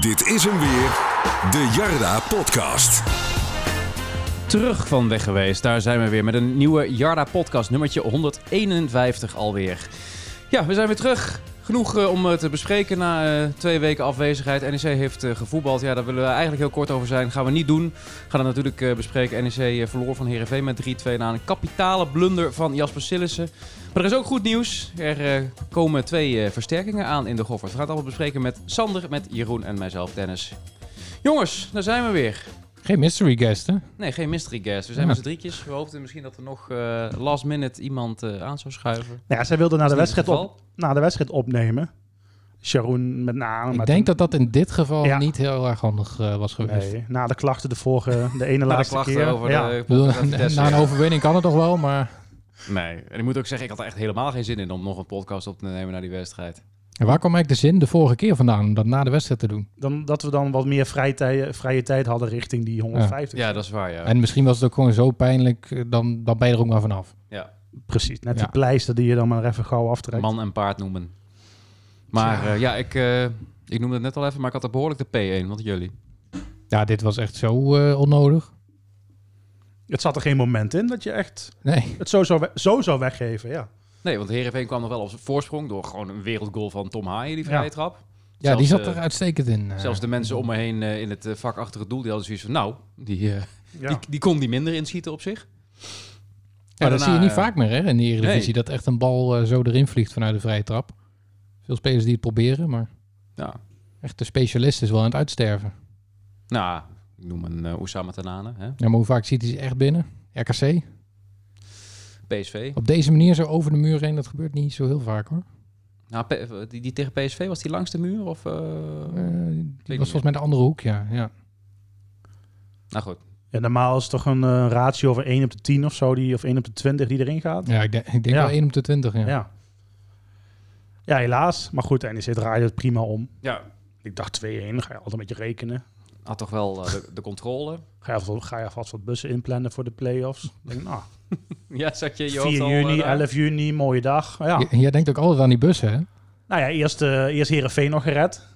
Dit is hem weer, de Jarda Podcast. terug van weg geweest. Daar zijn we weer met een nieuwe Jarda podcast, nummertje 151 alweer. Ja, we zijn weer terug. Genoeg eh, om eh, te bespreken na eh, twee weken afwezigheid. NEC heeft eh, gevoetbald. Ja, daar willen we eigenlijk heel kort over zijn. Gaan we niet doen. Gaan we natuurlijk eh, bespreken. NEC eh, verloor van Herenveen met 3-2 na een kapitale blunder van Jasper Sillissen. Maar er is ook goed nieuws. Er eh, komen twee eh, versterkingen aan in de Goffert. We gaan het allemaal bespreken met Sander, met Jeroen en mijzelf, Dennis. Jongens, daar zijn we weer. Geen mystery guest, hè? Nee, geen mystery guest. We zijn Ja. met z'n drietjes. We hoopten misschien dat er nog eh, last minute iemand eh, aan zou schuiven. Nou ja, zij wilde na de, Is dit het wedstrijd op, geval? na de wedstrijd opnemen. Sharon met name. ik maar denk toen- dat dat in dit geval Ja. niet heel erg handig eh, was geweest. Nee, na de klachten de vorige, de ene Na de laatste klachten keer. over ja. de Ik bedoel, podcast test. na een overwinning kan het nog wel, maar Nee, en ik moet ook zeggen, ik had er echt helemaal geen zin in om nog een podcast op te nemen naar die wedstrijd. En waar kwam eigenlijk de zin de vorige keer vandaan om dat na de wedstrijd te doen? dan, dat we dan wat meer vrije tijd, vrije tijd hadden richting die 150. Ja, dat is waar, ja. En misschien was het ook gewoon zo pijnlijk, eh, dan, dan ben je er ook maar vanaf. ja. Precies, net Ja. die pleister die je dan maar even gauw aftrekt. Man en paard noemen. Maar eh, ja, ik, eh, ik noemde het net al even, maar ik had er behoorlijk de P1, want jullie. Ja, dit was echt zo eh, onnodig. Het zat er geen moment in dat je echt Nee. het zo zou, we- zo zou weggeven. Ja. Nee, want Heerenveen kwam nog wel op zijn voorsprong door gewoon een wereldgoal van Tom Haaien, die vrije Ja. trap. Ja, die Zelfs, zat eh, er uitstekend in. eh. Zelfs de mensen om me heen eh, in het eh, vak achter het doel, die hadden zoiets van, nou, die, eh, Ja. die, die kon die minder inschieten op zich. Ja, dat daarna, zie je niet eh, vaak meer, hè, in de Eredivisie, dat echt een bal eh, zo erin vliegt vanuit de vrije trap. Veel spelers die het proberen, maar Ja. echt de specialist is wel aan het uitsterven. Nou, ik noem een eh Oussama Tanane, hè? Ja, maar hoe vaak ziet hij ze echt binnen? RKC? PSV. Op deze manier zo over de muur heen, dat gebeurt niet zo heel vaak hoor. Nou, P- die, die tegen PSV, was die langs de muur? Of, eh? Eh, niet. die was volgens mij de andere hoek, ja. ja. Nou goed. Ja, normaal is het toch een eh, ratio van 1 op de 10 of zo, die, of 1 op de 20 die erin gaat. Ja, ik, denk- ik denk Ja. wel 1 op de 20, ja. Ja. ja. helaas. Maar goed, NEC draaide het prima om. Ja. Ik dacht 2-1, ga je altijd een beetje rekenen. Had toch wel eh, de, de controle. Ga je, alvast, ga je alvast wat bussen inplannen voor de play-offs? Ik Denk, nou, Ja, zat je in je 4 hoofd al, juni, eh, daar? 11 juni, mooie dag. Ja. J- Jij denkt ook altijd aan die bussen, hè? Nou ja, eerst, eh eerst Heerenveen nog gered.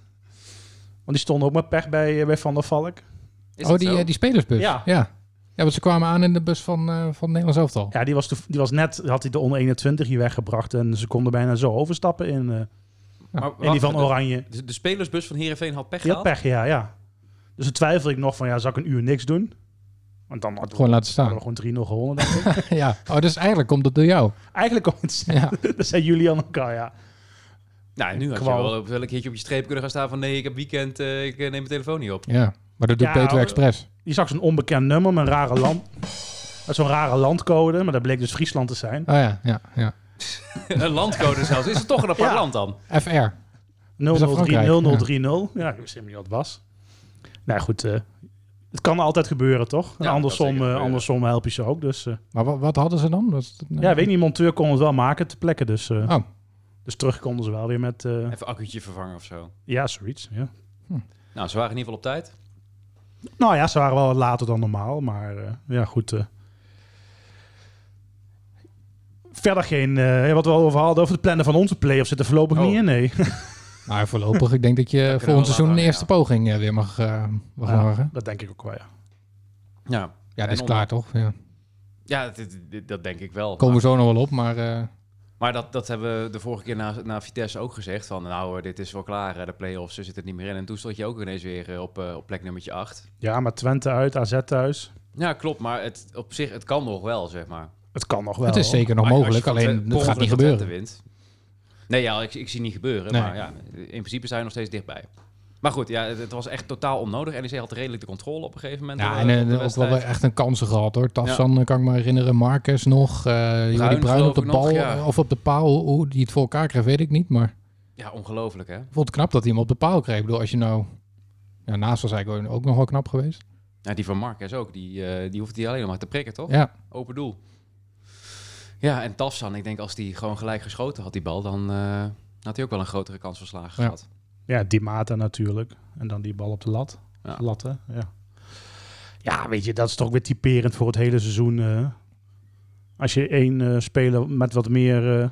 Want die stonden ook met pech bij, eh, bij Van der Valk. Is oh, dat die, zo? eh, die spelersbus. Ja. ja. Ja, want ze kwamen aan in de bus van, eh, van Nederlands Elftal. Ja, die was, toe- die was net, had hij de onder 21 hier weggebracht. En ze konden bijna zo overstappen in, eh, Maar in wacht, die van de- Oranje. De, de spelersbus van Heerenveen had pech Die had gehad? pech, ja, ja. Dus toen twijfel ik nog van, ja, zal ik een uur niks doen? Want dan hadden we, Gewoon laten staan. hadden we gewoon 3-0 gewonnen. denk ik. ja. Oh, dus eigenlijk komt dat door jou. Eigenlijk komt het, Ja. dat zijn jullie aan elkaar, ja. Nou, nu had je Kwal. wel op welk keertje op je streep kunnen gaan staan van... nee, ik heb weekend, eh, ik eh, neem mijn telefoon niet op. ja. Maar dat doet Ja, Peter hoor. Express. Die zag zo'n onbekend nummer met een rare land. Met zo'n rare landcode, maar dat bleek dus Friesland te zijn. Oh ja, ja, ja. een landcode zelfs. Is het toch een apart Ja. land dan? FR. 003 Frankrijk? 0030. Ja, ik wist helemaal niet wat het was. Nou ja, goed, eh, het kan altijd gebeuren, toch? En kan zeker andersom, eh, gebeuren. andersom help je ze ook. Dus eh, Maar wat, wat hadden ze dan? Was het- ja, weet niet, monteur kon het wel maken te plekken. Dus, eh, Oh. dus terug konden ze wel weer met, eh, Even accu'tje vervangen of zo. ja, zoiets. Ja. Nou, ze waren in ieder geval op tijd. Nou ja, ze waren wel wat later dan normaal, maar eh, ja, goed. eh. Verder geen, eh, ja, wat we al over hadden, over het plannen van onze play-off zit er voorlopig Oh. niet in, nee. Nou, voorlopig. ik denk dat je we wel volgend seizoen een laten, eerste ja. poging eh, weer mag, eh mag Ja, wagen. dat denk ik ook wel, ja. Ja, Ja, dat En is om- klaar toch? Ja. ja dit- dit- dat denk ik wel. Komen we zo nog wel op, maar eh, Maar dat, dat hebben we de vorige keer na, na Vitesse ook gezegd. Van nou, eh, dit is wel klaar, eh, de play-offs, ze zitten niet meer in. En toen stond je ook ineens weer eh, op, eh, op plek nummertje 8. Ja, maar Twente uit, AZ thuis, Ja, klopt, maar het, op zich, het kan nog wel, zeg maar. het kan nog wel. het is hoor. zeker nog Als je- mogelijk. als je van Alleen Twe- het gaat per niet ongeluk van gebeuren. Twente wint. Nee, ja, ik, ik zie niet gebeuren. Nee. Maar ja, in principe zijn we nog steeds dichtbij. Maar goed, ja, het, het was echt totaal onnodig. NEC had redelijk de controle op een gegeven moment. Ja, eh, en op de eh, ook wel wedstrijd. weer echt een kansen gehad hoor. Tafsan eh, kan ik me herinneren. Marcus nog. eh Jordi Bruin geloof op de ik nog, bal ja. eh, of op de paal. Hoe- Hoe die het voor elkaar kreeg, weet ik niet. Maar ik Ja, ongelooflijk hè. vond het knap dat hij hem op de paal kreeg. Ik bedoel, als je nou... Ja, naast was eigenlijk ook nog wel knap geweest. Ja, Nou, die van Marquez ook, die, eh, die hoeft hij alleen nog maar te prikken, toch? Ja, Open doel. Ja, en Tafsan, ik denk als die gewoon gelijk geschoten had, die bal, dan eh, had hij ook wel een grotere kans van slagen Ja. gehad. Ja, die Mata natuurlijk. En dan die bal op de lat. Ja. Latten, ja. Ja, weet je, dat is toch weer typerend voor het hele seizoen. eh. Als je één eh, speler met wat meer eh,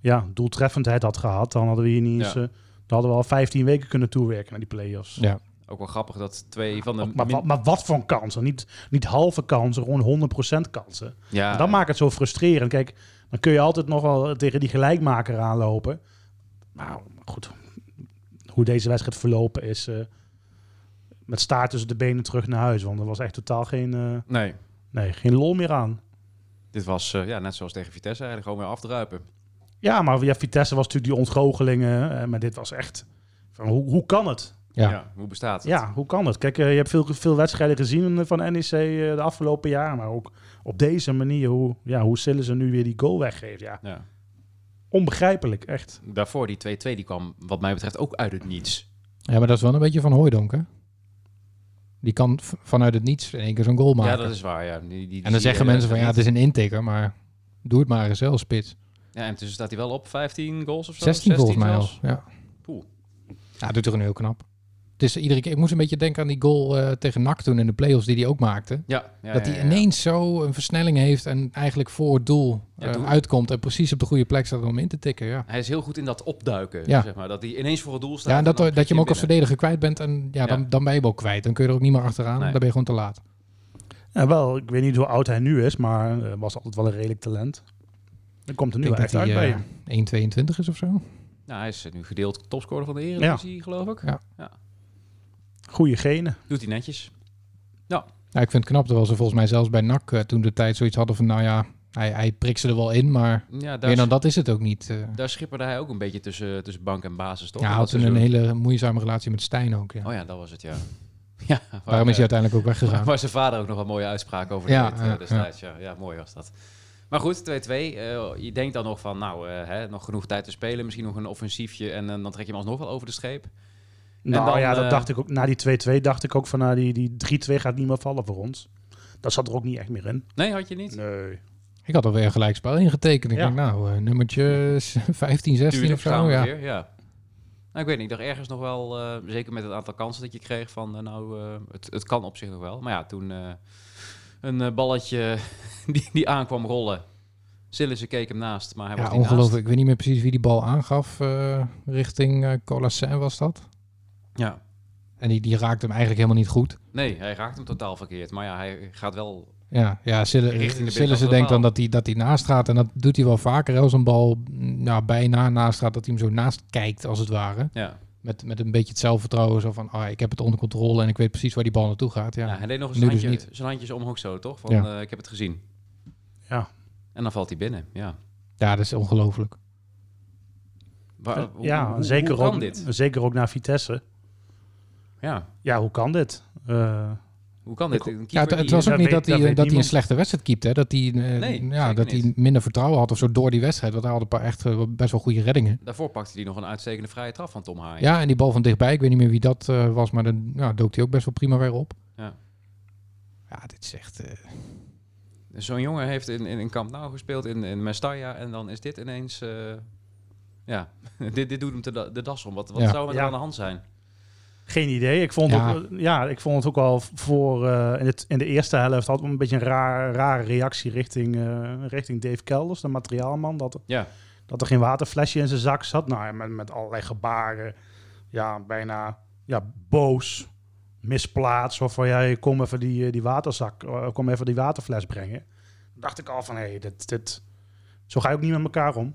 ja, doeltreffendheid had gehad, dan hadden we hier niet Ja. eens... eh, dan hadden we al 15 weken kunnen toewerken naar die play-offs. ja. Ook wel grappig dat twee van de... Maar, wa- min- maar wat voor kansen? Niet, niet halve kansen, gewoon 100% kansen. ja, En dat maakt het zo frustrerend. Kijk, dan kun je altijd nog wel tegen die gelijkmaker aanlopen. Maar goed, hoe deze wedstrijd verlopen is... eh, met staart tussen de benen terug naar huis. Want er was echt totaal geen, eh, Nee, nee, geen lol meer aan. dit was eh, ja, net zoals tegen Vitesse eigenlijk gewoon weer afdruipen. Ja, maar ja, Vitesse was natuurlijk die ontgoochelingen. eh, Maar dit was echt... Van, hoe, hoe kan het? Ja. hoe bestaat het? Ja, hoe kan het? Kijk, eh, je hebt veel, veel wedstrijden gezien van NEC eh, de afgelopen jaren. Maar ook op deze manier, hoe, ja, hoe Sillen ze nu weer die goal weggeeft. Ja, Ja. onbegrijpelijk, echt. Daarvoor die 2-2, die kwam wat mij betreft ook uit het niets. Ja, maar dat is wel een beetje van Hooijdonk, hè? Die kan v- vanuit het niets in één keer zo'n goal maken. Ja, dat is waar. Ja. Die- die- die en zie dan je zeggen mensen van, ja, niet. het is een intikker, maar doe het maar eens zelf, spits. Ja, en tussen staat hij wel op 15 goals of zo? 16 volgens mij al. zelfs? Ja. Poeh. ja, doet er een heel knap. Het is iedere keer, ik moest een beetje denken aan die goal eh, tegen NAC toen in de play-offs die hij ook maakte. Ja, ja, dat ja, hij ja. ineens zo een versnelling heeft en eigenlijk voor het doel Ja, eh, doe- uitkomt en precies op de goede plek staat om in te tikken. Ja, Hij is heel goed in dat opduiken, Ja. zeg maar. Dat hij ineens voor het doel staat. ja en dat, eh, dan dat je hem ook als prikt hij verdediger kwijt bent en ja, dan, Ja. dan ben je hem ook kwijt. Dan kun je er ook niet meer achteraan, Nee. dan ben je gewoon te laat. Ja, wel, ik weet niet hoe oud hij nu is, maar eh, was altijd wel een redelijk talent. Dan komt er Ik nu denk wel dat echt uit hij eh, bij 1,22 is of zo. binnen. Nou, hij is nu gedeeld topscorer van de Eredivisie, geloof ik. Ja. Goede genen. Doet hij netjes. Ja, ik vind het knap, terwijl ze volgens mij zelfs bij NAC eh, toen de tijd zoiets hadden van, nou ja, hij, hij prikt ze er wel in, maar Ja, daar, meer dan dat is het ook niet. eh. daar schipperde hij ook een beetje tussen, tussen bank en basis, toch? ja, hij Dat had toen een seizoen. hele moeizame relatie met Stijn ook. Ja. Oh ja, dat was het, ja. ja waar, Waarom is eh, hij uiteindelijk ook weggegaan? Waar zijn vader ook nog een mooie uitspraak over Ja, deed eh, ja, destijds. Ja. Ja, mooi was dat. Maar goed, 2-2. eh, je denkt dan nog van, nou, eh, hè, nog genoeg tijd te spelen. Misschien nog een offensiefje. En eh, dan trek je hem alsnog wel over de scheep. Nou dan, ja, dat eh, dacht ik ook. Na die 2-2 dacht ik ook van, nou, die, die 3-2 gaat niet meer vallen voor ons. Dat zat er ook niet echt meer in. Nee, had je niet? Nee. Ik had alweer een gelijkspel ingetekend. Ik Ja. denk, nou, eh, nummertje 15, 16 Tuurlijk, of gaan zo. we Ja. weer, ja. Nou, ik weet niet, ik dacht ergens nog wel, eh, zeker met het aantal kansen dat je kreeg, van eh, nou, eh, het, het kan op zich nog wel. Maar ja, toen eh, een eh, balletje die, die aankwam rollen. Sillissen keek hem naast, maar hij Ja, was niet naast. ongelooflijk. Ik weet niet meer precies wie die bal aangaf. eh, richting eh Colasin was dat. Ja. En die, die raakte hem eigenlijk helemaal niet goed. Nee, hij raakt hem totaal verkeerd. Maar ja, hij gaat wel... Ja, ja Richting de Sille- binnenkant Sillessen helemaal. denkt dan dat hij dat hij naast gaat. En dat doet hij wel vaker. hè, Als een bal mm, nou, bijna naast gaat, dat hij hem zo naast kijkt, als het ware. Ja. Met, met een beetje het zelfvertrouwen. Zo van, ah, ik heb het onder controle en ik weet precies waar die bal naartoe gaat. Ja, Ja, hij deed nog eens nu zijn, dus handje, niet. zijn handjes omhoog zo, toch? Van, Ja. eh, ik heb het gezien. Ja. En dan valt hij binnen, ja. ja dat is ongelooflijk. Waar- hoe- ja, hoe- zeker, hoe kan ook, dit? zeker ook naar Vitesse. Ja, Ja, hoe kan dit? Eh, hoe kan dit? Een Ja, keeper het, het die- was ook dat niet weet- dat hij, eh, dat dat weet hij een niemand. slechte wedstrijd keept. Hè? Dat, hij, eh, Nee, ja, zeker dat hij niet. minder vertrouwen had of zo door die wedstrijd. Want hij had een paar echt eh, best wel goede reddingen. Daarvoor pakte hij nog een uitstekende vrije trap van Tom Haaien. Ja, en die bal van dichtbij, ik weet niet meer wie dat eh, was, maar dan ja, dook hij ook best wel prima weer op. Ja. Ja, dit is echt... eh, Zo'n jongen heeft in, in, in Camp Nou gespeeld, in, in Mestalla. En dan is dit ineens... eh, ja, dit, dit doet hem de, da- de das om. Wat, wat Ja. zou er Ja. aan de hand zijn? Geen idee. Ik vond, Ja. Ook, ja, ik vond het ook al voor eh, in, het, in de eerste helft had een beetje een raar, rare reactie richting, eh, richting Dave Kelders, de materiaalman. Dat, Ja. dat er geen waterflesje in zijn zak zat. Nou, ja, met, met allerlei gebaren. Ja, bijna ja, boos, misplaatst. Of van, ja, kom even die, eh, die waterzak, eh, kom even die waterfles brengen. Dan dacht ik al van, hé, dit, dit, zo ga je ook niet met elkaar om.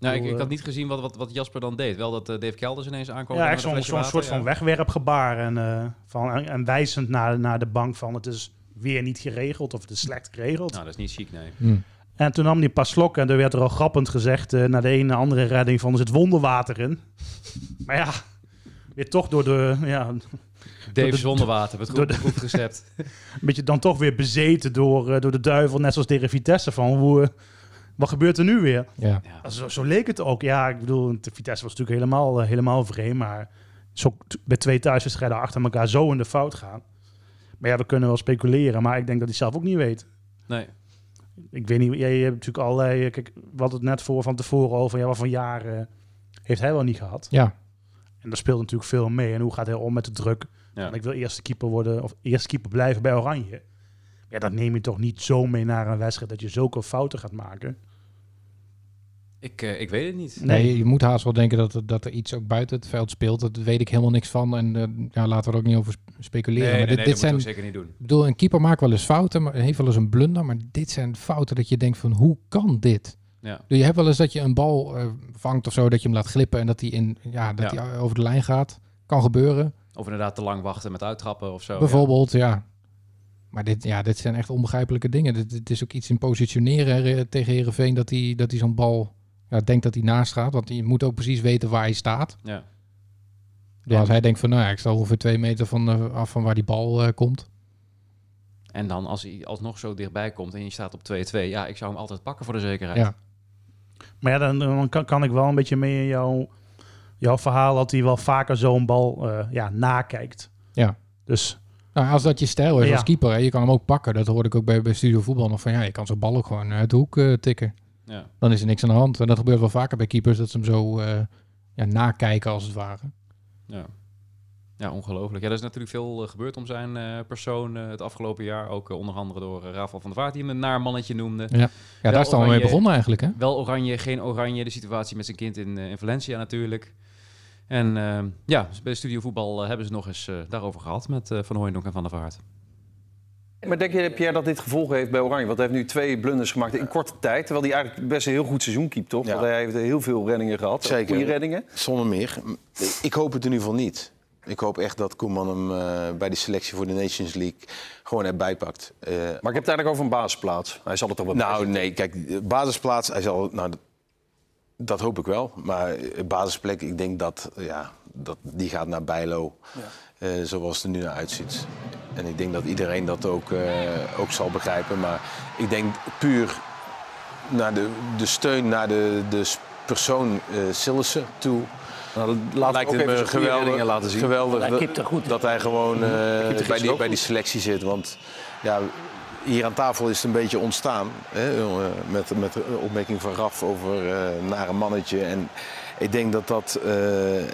Nou, ik, bedoel, ik had eh, niet gezien wat, wat, wat Jasper dan deed. Wel dat eh, Dave Kelders ineens aankwam. Ja, met echt een zo'n flesje zo'n water, soort ja. van wegwerpgebaar. En, eh, van, en, en wijzend naar, naar de bank van het is weer niet geregeld of het is slecht geregeld. Nou, dat is niet chic, nee. hm. En toen nam hij een paar slokken en er werd er al grappend gezegd... eh na de ene andere redding van er zit wonderwater in. maar ja, weer toch door de... Ja, een Dave de- Zonderwater, werd door goed, goed gestept. beetje dan toch weer bezeten door, eh, door de duivel. Net zoals tegen Vitesse van hoe... eh, wat gebeurt er nu weer? ja. Ja. Ja, Zo, zo leek het ook. Ja, ik bedoel, de Vitesse was natuurlijk helemaal, eh, helemaal vreemd. Maar zo, t- bij twee thuiswedstrijden achter elkaar zo in de fout gaan. Maar ja, we kunnen wel speculeren. Maar ik denk dat hij zelf ook niet weet. Nee. Ik weet niet, jij hebt natuurlijk allerlei... eh, Kijk, wat het net voor van tevoren over. Ja, wat voor jaren heeft hij wel niet gehad. ja, En daar speelt natuurlijk veel mee. En hoe gaat hij om met de druk? Ja. Want ik wil eerste keeper worden of eerste keeper blijven bij Oranje. Ja, dat neem je toch niet zo mee naar een wedstrijd dat je zulke fouten gaat maken. Ik, eh, ik weet het niet. Nee, Nee. je moet haast wel denken dat, er- dat er iets ook buiten het veld speelt. Dat weet ik helemaal niks van. En eh, ja, laten we er ook niet over sp- speculeren. nee, maar nee, dit, nee, dit dat zijn, moet je ook zeker niet doen. ik bedoel, een keeper maakt wel eens fouten, maar heeft wel eens een blunder. Maar dit zijn fouten dat je denkt van, hoe kan dit? Ja. Dus je hebt wel eens dat je een bal eh, vangt of zo, dat je hem laat glippen en dat hij in, ja, dat Ja. hij over de lijn gaat. Kan gebeuren, Of inderdaad te lang wachten met uittrappen of zo. ja. bijvoorbeeld, ja. Maar dit, ja, dit zijn echt onbegrijpelijke dingen. Dit, dit is ook iets in positioneren hè, tegen Herenveen dat hij, dat hij zo'n bal ja, denkt dat hij naast gaat. Want je moet ook precies weten waar hij staat. Ja. Dus als hij denkt van, nou ja, ik sta ongeveer twee meter van, eh, af van waar die bal eh, komt. En dan als hij alsnog zo dichtbij komt en je staat op 2-2, ja, ik zou hem altijd pakken voor de zekerheid. Ja. Maar ja, dan, dan kan, kan ik wel een beetje mee in jouw, jouw verhaal dat hij wel vaker zo'n bal eh, ja, nakijkt. Ja. Dus Nou, als dat je stijl is Ja. als keeper, hè, je kan hem ook pakken. Dat hoorde ik ook bij, bij Studio Voetbal nog van, ja, je kan zo'n bal ook gewoon uit de hoek eh, tikken. Ja. Dan is er niks aan de hand. En dat gebeurt wel vaker bij keepers, dat ze hem zo eh, ja, nakijken als het ware. Ja, ja ongelooflijk. Ja, er is natuurlijk veel eh, gebeurd om zijn eh, persoon eh, het afgelopen jaar. Ook eh, onder andere door eh, Rafael van der Vaart, die hem een naar mannetje noemde. Ja, daar is het allemaal mee oranje- begonnen eigenlijk, hè? Wel oranje, geen oranje. De situatie met zijn kind in, eh, in Valencia natuurlijk. En eh, ja, bij Studio Voetbal eh, hebben ze nog eens eh, daarover gehad met eh, Van Hooijdonk en Van der Vaart. Maar denk je, Pierre, dat dit gevolgen heeft bij Oranje? Want hij heeft nu twee blunders gemaakt in korte tijd. Terwijl hij eigenlijk best een heel goed seizoen keept, toch? Ja. Want hij heeft heel veel reddingen gehad. Zeker. Goede reddingen. Zonder meer. Ik hoop het in ieder geval niet. Ik hoop echt dat Koeman hem eh, bij de selectie voor de Nations League gewoon erbij pakt. Eh, Maar ik heb het eigenlijk over een basisplaats. Hij zal het toch wel bij nou, zijn. nee, kijk, de basisplaats, hij zal, nou, dat- dat hoop ik wel. Maar eh, basisplek, ik denk dat, eh, ja, dat die gaat naar Bijlo, eh, zoals het er nu naar uitziet. En ik denk dat iedereen dat ook, eh, ook zal begrijpen. Maar ik denk puur naar de, de steun naar de, de s- persoon eh Sillissen toe. Nou, laat Lijkt ook hem even eh, zijn goede geweldig, reddingen laten zien. geweldig Hij dat- kipt er goed, hè? dat hij gewoon eh, bij, gisteren die, ook bij die goed. selectie zit. Want ja, hier aan tafel is het een beetje ontstaan. Hè, eh, met, met de opmerking van Raf over eh nare mannetje. En ik denk dat dat eh,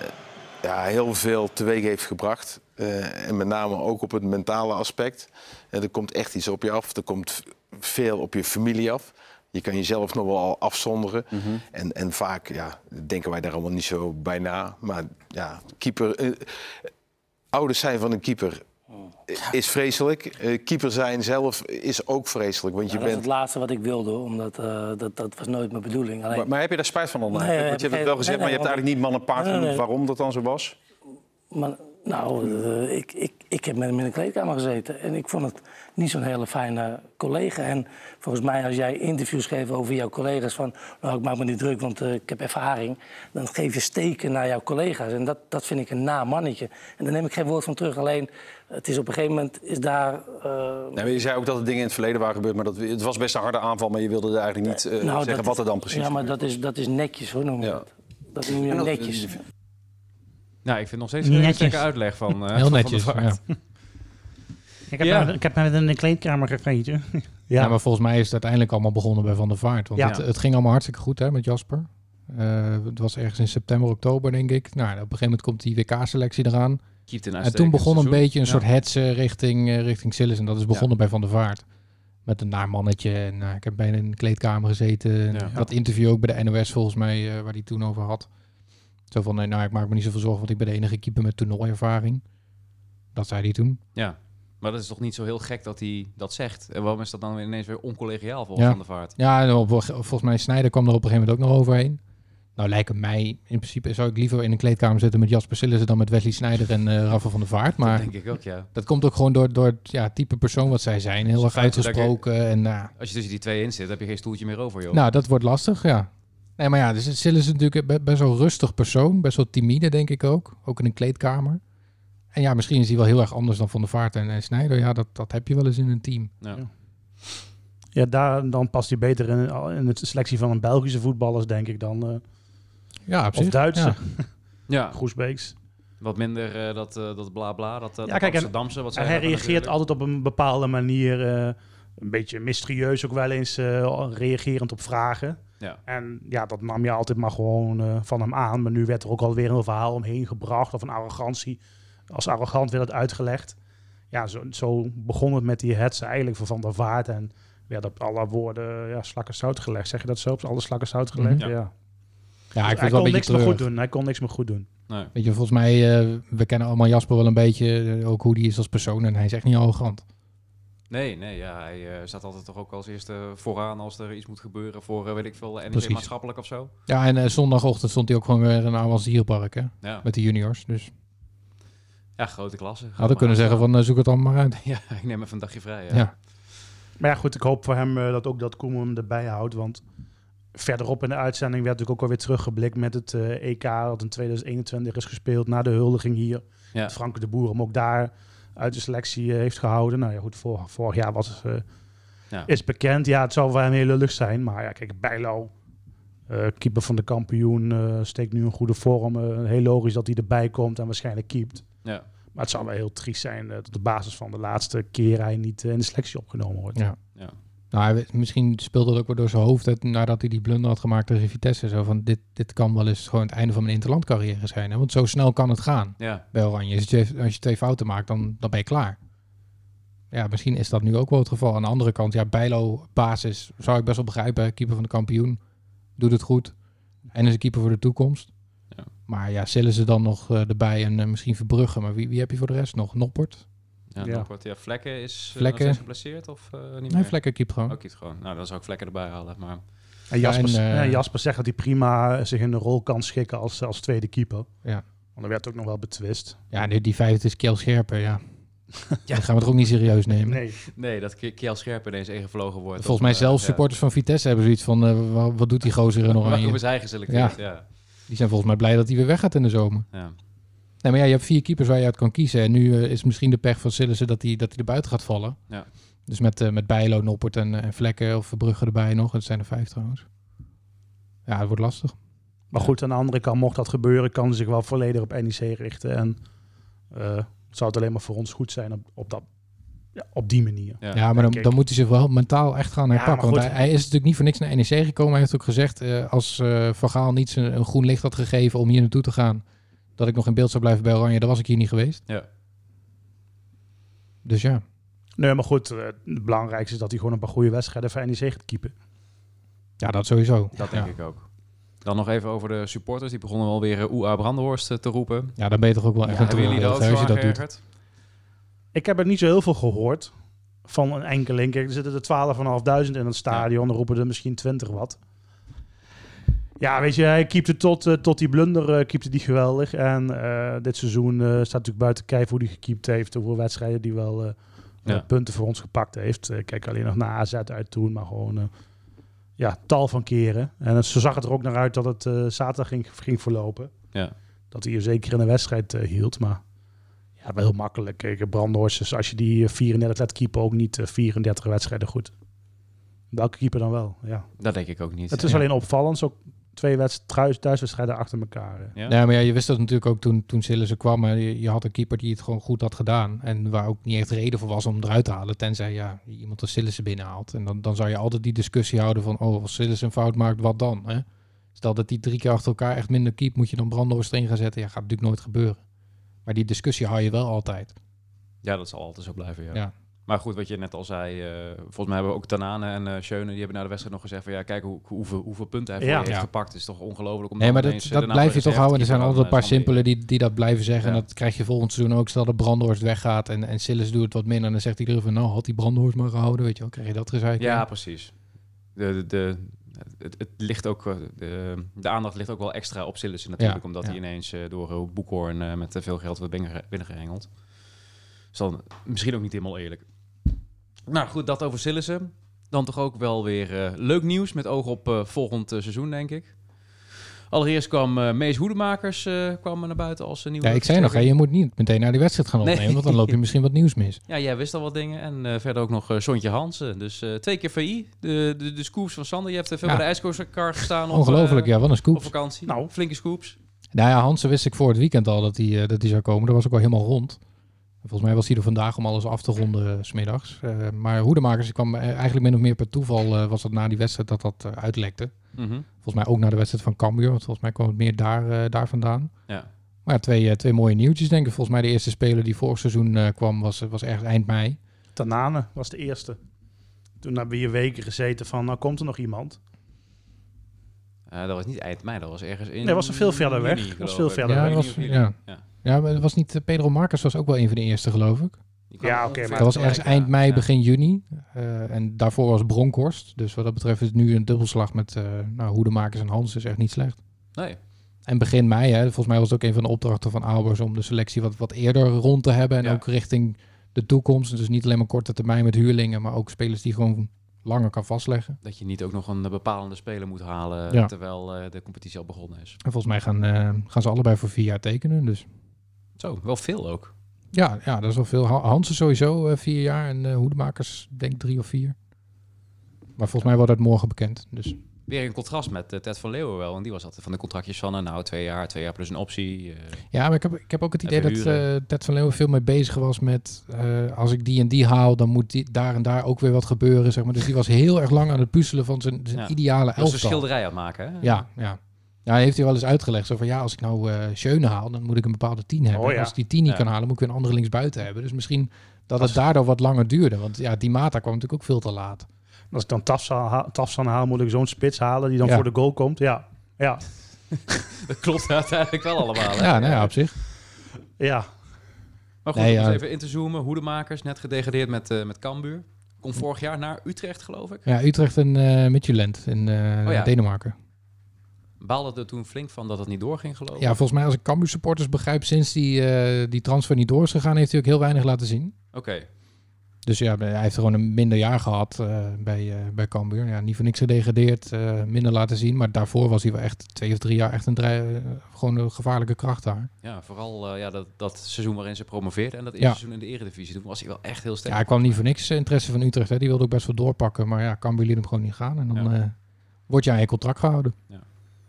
ja, heel veel teweeg heeft gebracht. Eh, en met name ook op het mentale aspect. En er komt echt iets op je af. Er komt veel op je familie af. Je kan jezelf nog wel al afzonderen. Mhm. en, en vaak ja, denken wij daar allemaal niet zo bij na. Maar ja, keeper, eh, ouders zijn van een keeper Oh. is vreselijk. Eh, keeper zijn zelf is ook vreselijk. Want je dat is bent het laatste wat ik wilde, hoor, omdat eh, dat, dat was nooit mijn bedoeling. Alleen, Maar, maar heb je daar spijt van dan? Nee, eigenlijk? Want heb je ik hebt het wel geen- gezegd, nee, maar je hebt eigenlijk nee, niet man en paard nee, genoemd nee. waarom dat dan zo was. Maar, nou, eh, ik, ik, ik heb met hem in de kleedkamer gezeten. En ik vond het niet zo'n hele fijne collega. En volgens mij, als jij interviews geeft over jouw collega's... van, nou, ik maak me niet druk, want eh, ik heb ervaring... dan geef je steken naar jouw collega's. En dat, dat vind ik een na mannetje. En daar neem ik geen woord van terug. Alleen, het is op een gegeven moment is daar... eh, Nee, maar je zei ook dat er dingen in het verleden waren gebeurd, maar dat, het was best een harde aanval, maar je wilde er eigenlijk niet eh, nou, zeggen dat wat er is- dan precies Ja, maar dat is, dat is netjes, hoor, noem je Ja. dat. Dat noem je En dat- netjes. Nou, ik vind nog steeds Niet een netjes. gekke uitleg van, eh, Heel van netjes. Van der Ja. Vaart. Ik heb, Ja. hem, ik heb hem in de kleedkamer gegeten. ja, Ja, maar volgens mij is het uiteindelijk allemaal begonnen bij Van der Vaart. Want Ja. het, het ging allemaal hartstikke goed hè, met Jasper. Eh, het was ergens in september, oktober denk ik. Nou, op een gegeven moment komt die WK-selectie eraan. Keept een En uitstekend toen begon een seizoen. beetje een Ja. soort hetsen richting, eh, richting Sillis. En dat is begonnen bij Van der Vaart. Met een naar mannetje. En eh, ik heb bijna in de kleedkamer gezeten. Ja. Dat interview ook bij de NOS volgens mij, eh, waar hij toen over had. Zo van, nee, nou, ik maak me niet zoveel zorgen, want ik ben de enige keeper met toernooiervaring. Dat zei hij toen. Ja, maar dat is toch niet zo heel gek dat hij dat zegt? En waarom is dat dan ineens weer oncollegiaal volgens Ja. Van der Vaart? Ja, en op- volgens mij Snijder kwam er op een gegeven moment ook nog overheen. Nou lijken mij, in principe zou ik liever in een kleedkamer zitten met Jasper Sillissen dan met Wesley Snijder en eh Rafa van der Vaart. Maar Dat dat, denk ik ook, ja. komt ook gewoon door, door het ja, type persoon wat zij zijn. Heel Ze erg fluiten dat je- uitgesproken en nou, Als je tussen die twee in zit, heb je geen stoeltje meer over, joh. Nou, dat wordt lastig, ja. Nee, maar ja, dus het- Sil is natuurlijk be- best wel rustig persoon. Best wel timide, denk ik ook. Ook in een kleedkamer. En ja, misschien is hij wel heel erg anders dan Van der Vaart en, en Snijder. Ja, dat, dat heb je wel eens in een team. Ja. ja, daar, dan past hij beter in, in de selectie van een Belgische voetballers, denk ik, dan eh Ja, op of zich. Duitse, Ja. Ja, Groesbeeks. wat minder eh, dat, eh, dat bla bla, dat, eh, dat kijk, en- Amsterdamse. Wat zij hij hebben reageert natuurlijk. altijd op een bepaalde manier, eh, een beetje mysterieus ook wel eens, eh, reagerend op vragen. Ja. En ja, dat nam je altijd maar gewoon eh, van hem aan. Maar nu werd er ook alweer een verhaal omheen gebracht of een arrogantie. Als arrogant werd het uitgelegd. Ja, zo, zo begon het met die hetze eigenlijk voor Van der Vaart. En werd op alle woorden ja, slakken zout gelegd. Zeg je dat zo? Op alle slakken zout gelegd? Mhm. Ja. Ja, ik hij vind het wel kon een niks beetje meer goed treurig. doen. Hij kon niks meer goed doen. Nee. Weet je, volgens mij, eh, we kennen allemaal Jasper wel een beetje, eh, ook hoe die is als persoon. En hij is echt niet arrogant. Nee, nee, ja, hij eh, staat altijd toch ook als eerste vooraan als er iets moet gebeuren voor, eh, weet ik veel, NEC Precies. maatschappelijk of zo. Ja, en eh, zondagochtend stond hij ook gewoon weer in Avans Dierpark, hè, Ja, met de juniors. Dus ja grote klasse. Ga hadden maar kunnen zeggen aan van, eh, zoek het allemaal maar uit. staan. Ja, ik neem even een dagje vrij. Ja. Ja. Maar ja, goed, ik hoop voor hem eh, dat ook dat Koeman hem erbij houdt. Want verderop in de uitzending werd natuurlijk ook alweer teruggeblikt met het eh, EK dat in 2021 is gespeeld na de huldiging hier. Ja. Frank de Boer hem ook daar uit de selectie eh, heeft gehouden. Nou ja, goed, vor- vorig jaar was, eh, Ja. is bekend. Ja, het zou voor hem heel lullig zijn. Maar ja, kijk, Bijlo, eh, keeper van de kampioen, eh, steekt nu een goede vorm. Eh, heel logisch dat hij erbij komt en waarschijnlijk keept. Ja. Maar het zou wel heel triest zijn eh, dat op basis van de laatste keer hij niet eh, in de selectie opgenomen wordt. Ja. Nou, hij- misschien speelde dat ook wel door zijn hoofd hè, nadat hij die blunder had gemaakt tegen Vitesse. Zo van, dit, dit kan wel eens gewoon het einde van mijn interlandcarrière zijn. Hè? Want zo snel kan het gaan Ja. bij Oranje. Als je, als je twee fouten maakt, dan, dan ben je klaar. Ja, misschien is dat nu ook wel het geval. Aan de andere kant, ja, Bijlo basis zou ik best wel begrijpen. Keeper van de kampioen, doet het goed. En is een keeper voor de toekomst. Ja. Maar ja, zullen ze dan nog eh, erbij en eh, misschien Verbrugge. Maar wie, wie heb je voor de rest nog? Noppert? Ja, Ja. nog wat. ja, Vlekken is eh, nog Vlekken. steeds geblesseerd of eh, niet Nee, meer? Vlekken keept gewoon. Ook iets gewoon. Nou, dan zou ik Vlekken erbij halen, maar... En Ja, Jasper, en, eh, ja, Jasper zegt dat hij prima eh, zich in de rol kan schikken als, als tweede keeper. Ja. Want er werd ook nog wel betwist. Ja, nu die vijfde is Kjell Scherpen, ja. Dan gaan we het ook niet serieus nemen. Nee. Nee, dat Ke- Kiel Scherp ineens ingevlogen wordt. Volgens mij Of, eh, zelfs ja. supporters van Vitesse hebben zoiets van... eh, wa- wat doet die gozer in Waarom is oranje? hij geselecteerd? Ja. Die zijn volgens mij blij dat hij weer weggaat in de zomer. Ja. Nee, maar ja, je hebt vier keepers waar je uit kan kiezen. En nu eh, is misschien de pech van Sillissen dat hij, dat hij er buiten gaat vallen. Ja. Dus met, eh, met Bijlo, Noppert en, eh, en Vlekken of Brugge erbij nog. Het zijn er vijf trouwens. Ja, het wordt lastig. Maar goed, aan de andere kant, mocht dat gebeuren, kan hij zich wel volledig op NEC richten. En eh, zou het alleen maar voor ons goed zijn op, op, dat, ja, op die manier. Ja, Ja, maar dan, denk ik. dan moet hij zich wel mentaal echt gaan Ja, herpakken. maar want goed. hij, hij is natuurlijk niet voor niks naar NEC gekomen. Hij heeft ook gezegd, eh, als eh Van Gaal niet zijn, een groen licht had gegeven om hier naartoe te gaan, dat ik nog in beeld zou blijven bij Oranje, dan was ik hier niet geweest. Ja. Dus ja, Nee, maar goed, eh, het belangrijkste is dat hij gewoon een paar goede wedstrijden voor NEC gaat keepen. ja dat sowieso. Dat denk ja. ik ook. Dan nog even over de supporters. Die begonnen alweer eh, Oea Brandhorst eh, te roepen. Ja, dan ben je toch ook wel echt Hebben een jullie eh, er ook toernooi, zo als aan je dat doet. geërgerd? Ik heb er niet zo heel veel gehoord van een enkeling. Kijk, er zitten er 12.500 in het stadion, dan roepen er misschien 20 wat. Ja, weet je, hij keepte tot, eh, tot die blunder, eh, keepte die geweldig. En eh, dit seizoen eh, staat natuurlijk buiten kijf hoe hij gekiept heeft, hoeveel wedstrijden die wel eh, Ja. eh, punten voor ons gepakt heeft. Eh, kijk alleen nog naar AZ uit toen, maar gewoon eh, ja, tal van keren. En het- zo zag het er ook naar uit dat het eh, zaterdag ging, ging verlopen. Ja. Dat hij er zeker in een wedstrijd eh, hield, maar ja, wel heel makkelijk. Kijk, Brandhorst, dus als je die eh, 34 laat keeper ook niet eh, 34 wedstrijden goed. Welke keeper dan wel, ja. Dat denk ik ook niet. Het is Ja. alleen opvallend, zo twee wedstrijden, thuiswedstrijden achter elkaar. eh. Ja? Ja, Nou, maar ja, je wist dat natuurlijk ook toen, toen Sillissen kwam. hè. Je, je had een keeper die het gewoon goed had gedaan. En waar ook niet echt reden voor was om hem eruit te halen. Tenzij ja, iemand als Sillissen binnenhaalt. En dan, dan zou je altijd die discussie houden van... oh, als Sillissen een fout maakt, wat dan? Hè? Stel dat die drie keer achter elkaar echt minder keept... moet je dan Brandhorst erin gaan zetten? Ja, gaat natuurlijk nooit gebeuren. Maar die discussie hou je wel altijd. Ja, dat zal altijd zo blijven, ja. Ja. Maar goed, wat je net al zei, eh, volgens mij hebben we ook Tanane en eh Schöne, die hebben na de wedstrijd nog gezegd van ja, kijk hoe, hoeveel, hoeveel punten hij voor Ja. je heeft Ja. gepakt. Het is toch ongelooflijk om Nee, dan maar dat, ineens, eh, dat de naam blijf van je toch NEC houden. Er te zijn keeper altijd een paar dan, eh, simpele die, die dat blijven zeggen. Ja. En dat krijg je volgend seizoen ook. Stel dat Brandhorst weggaat en, en Sillis doet het wat minder. En dan zegt iedereen van, nou, had die Brandhorst maar gehouden. Weet je wel, krijg je dat gezeik. Ja, precies. De, de, de, het, het ligt ook, eh, de, de aandacht ligt ook wel extra op Sillissen natuurlijk, Ja, omdat ja. hij ineens eh, door eh, Boekhoorn eh, met te veel geld wordt binnenge- binnengehengeld. Dus dan misschien ook niet helemaal eerlijk. Nou goed, dat over Sillissen. Dan toch ook wel weer eh, leuk nieuws met oog op eh, volgend eh, seizoen, denk ik. Allereerst kwam eh, Mees Hoedemakers eh, kwam naar buiten als een nieuwe... Ja, ik zei nog, hè, versterking. je moet niet meteen naar die wedstrijd gaan Nee. opnemen, want dan loop je misschien wat nieuws mis. Ja, jij wist al wat dingen. En eh, verder ook nog eh, Sontje Hansen. Dus eh, twee keer VI. De, de, de scoops van Sander. Je hebt eh, veel Ja. bij de ijskoerskar gestaan. op, Ongelooflijk, eh, ja, wat een Op scoop. vakantie. Nou, Nou. flinke scoops. Nou ja, Hansen wist ik voor het weekend al dat hij eh, dat hij zou komen. Dat was ook al helemaal rond. Volgens mij was hij er vandaag om alles af te ronden, eh, 's smiddags. Eh, maar Hoedemakers die kwam eh, eigenlijk min of meer per toeval, eh, was dat na die wedstrijd dat dat eh, uitlekte. Mhm. Volgens mij ook na de wedstrijd van Cambuur, want volgens mij kwam het meer daar, eh, daar vandaan. Ja. Maar ja, twee, eh, twee mooie nieuwtjes denk ik. Volgens mij de eerste speler die vorig seizoen eh, kwam was, was ergens eind mei. Tanane was de eerste. Toen hebben we hier weken gezeten van, nou komt er nog iemand. Eh, dat was niet eind mei, dat was ergens in. Nee, was er veel verder weg. juni, Was geloof veel ik. verder Ik weg. weet Ja, niet was- of jullie- Ja, maar het was niet, eh, Pedro Marcus was ook wel een van de eerste, geloof ik. Die kwam Ja, wel oké, veel maar Dat was ergens tegelijk, eind ja. mei, Ja. begin juni. Eh, en daarvoor was Bronkhorst. Dus wat dat betreft is het nu een dubbelslag met eh nou, Hoedemakers en Hans. is echt niet slecht. Nee. En begin mei, hè, volgens mij was het ook een van de opdrachten van Albers om de selectie wat, wat eerder rond te hebben. En Ja. ook richting de toekomst. Dus niet alleen maar korte termijn met huurlingen, maar ook spelers die gewoon langer kan vastleggen. Dat je niet ook nog een eh, bepalende speler moet halen Ja. terwijl eh, de competitie al begonnen is. En volgens mij gaan, eh, gaan ze allebei voor vier jaar tekenen. Dus Zo, wel veel ook. ja, ja dat is wel veel. Ha- Hansen sowieso eh, vier jaar en eh, Hoedemakers denk ik drie of vier. Maar volgens mij wordt dat morgen bekend. Dus Weer in contrast met eh, Ted van Leeuwen wel, want die was altijd van de contractjes van eh, nou twee jaar, twee jaar plus een optie. eh. Ja, maar ik heb, ik heb ook het idee Even dat eh huren. Ted van Leeuwen veel mee bezig was met... eh, als ik die en die haal, dan moet die, daar en daar ook weer wat gebeuren. Zeg maar. Dus die was heel erg lang aan het puzzelen van zijn, zijn Ja. ideale dat was een elftal. schilderij aan het maken. Hè? Ja, ja. Ja, heeft hij wel eens uitgelegd. Zo van, ja, als ik nou eh Schöne haal, dan moet ik een bepaalde tien hebben. Oh, En ja. Als ik die tien niet Ja. kan halen, moet ik weer een andere linksbuiten hebben. Dus misschien dat Als- het daardoor wat langer duurde. Want ja, die Mata kwam natuurlijk ook veel te laat. Als ik dan Tafsan, ha- Tafsan haal, moet ik zo'n spits halen die dan Ja. voor de goal komt. Ja, ja, Dat klopt uiteindelijk wel allemaal. hè? Ja, nou ja, op zich. ja. Maar goed, Nee, om ja. eens even in te zoomen. Hoedemakers, net gedegradeerd met, eh met Cambuur. Kom vorig jaar naar Utrecht, geloof ik. Ja, Utrecht en eh Midtjylland in eh, Oh, ja. Denemarken. Baalde er toen flink van dat het niet doorging, geloof ik. Ja, volgens mij als ik Cambuur supporters begrijp, sinds die, eh, die transfer niet door is gegaan, heeft hij ook heel weinig laten zien. Oké. Dus ja, hij heeft gewoon een minder jaar gehad eh, bij, eh, bij Cambuur. Ja, niet voor niks gedegradeerd, eh, minder laten zien. Maar daarvoor was hij wel echt twee of drie jaar echt een, drei- eh, gewoon een gevaarlijke kracht daar. Ja, vooral eh, ja, dat, dat seizoen waarin ze promoveerden en dat eerste Ja. seizoen in de eredivisie. Toen was hij wel echt heel Ja, sterk. hij kwam niet voor niks eh, interesse van Utrecht. Hè. Die wilde ook best wel doorpakken. Maar ja, Cambuur liet hem gewoon niet gaan. En dan Ja. eh, word je aan je contract gehouden.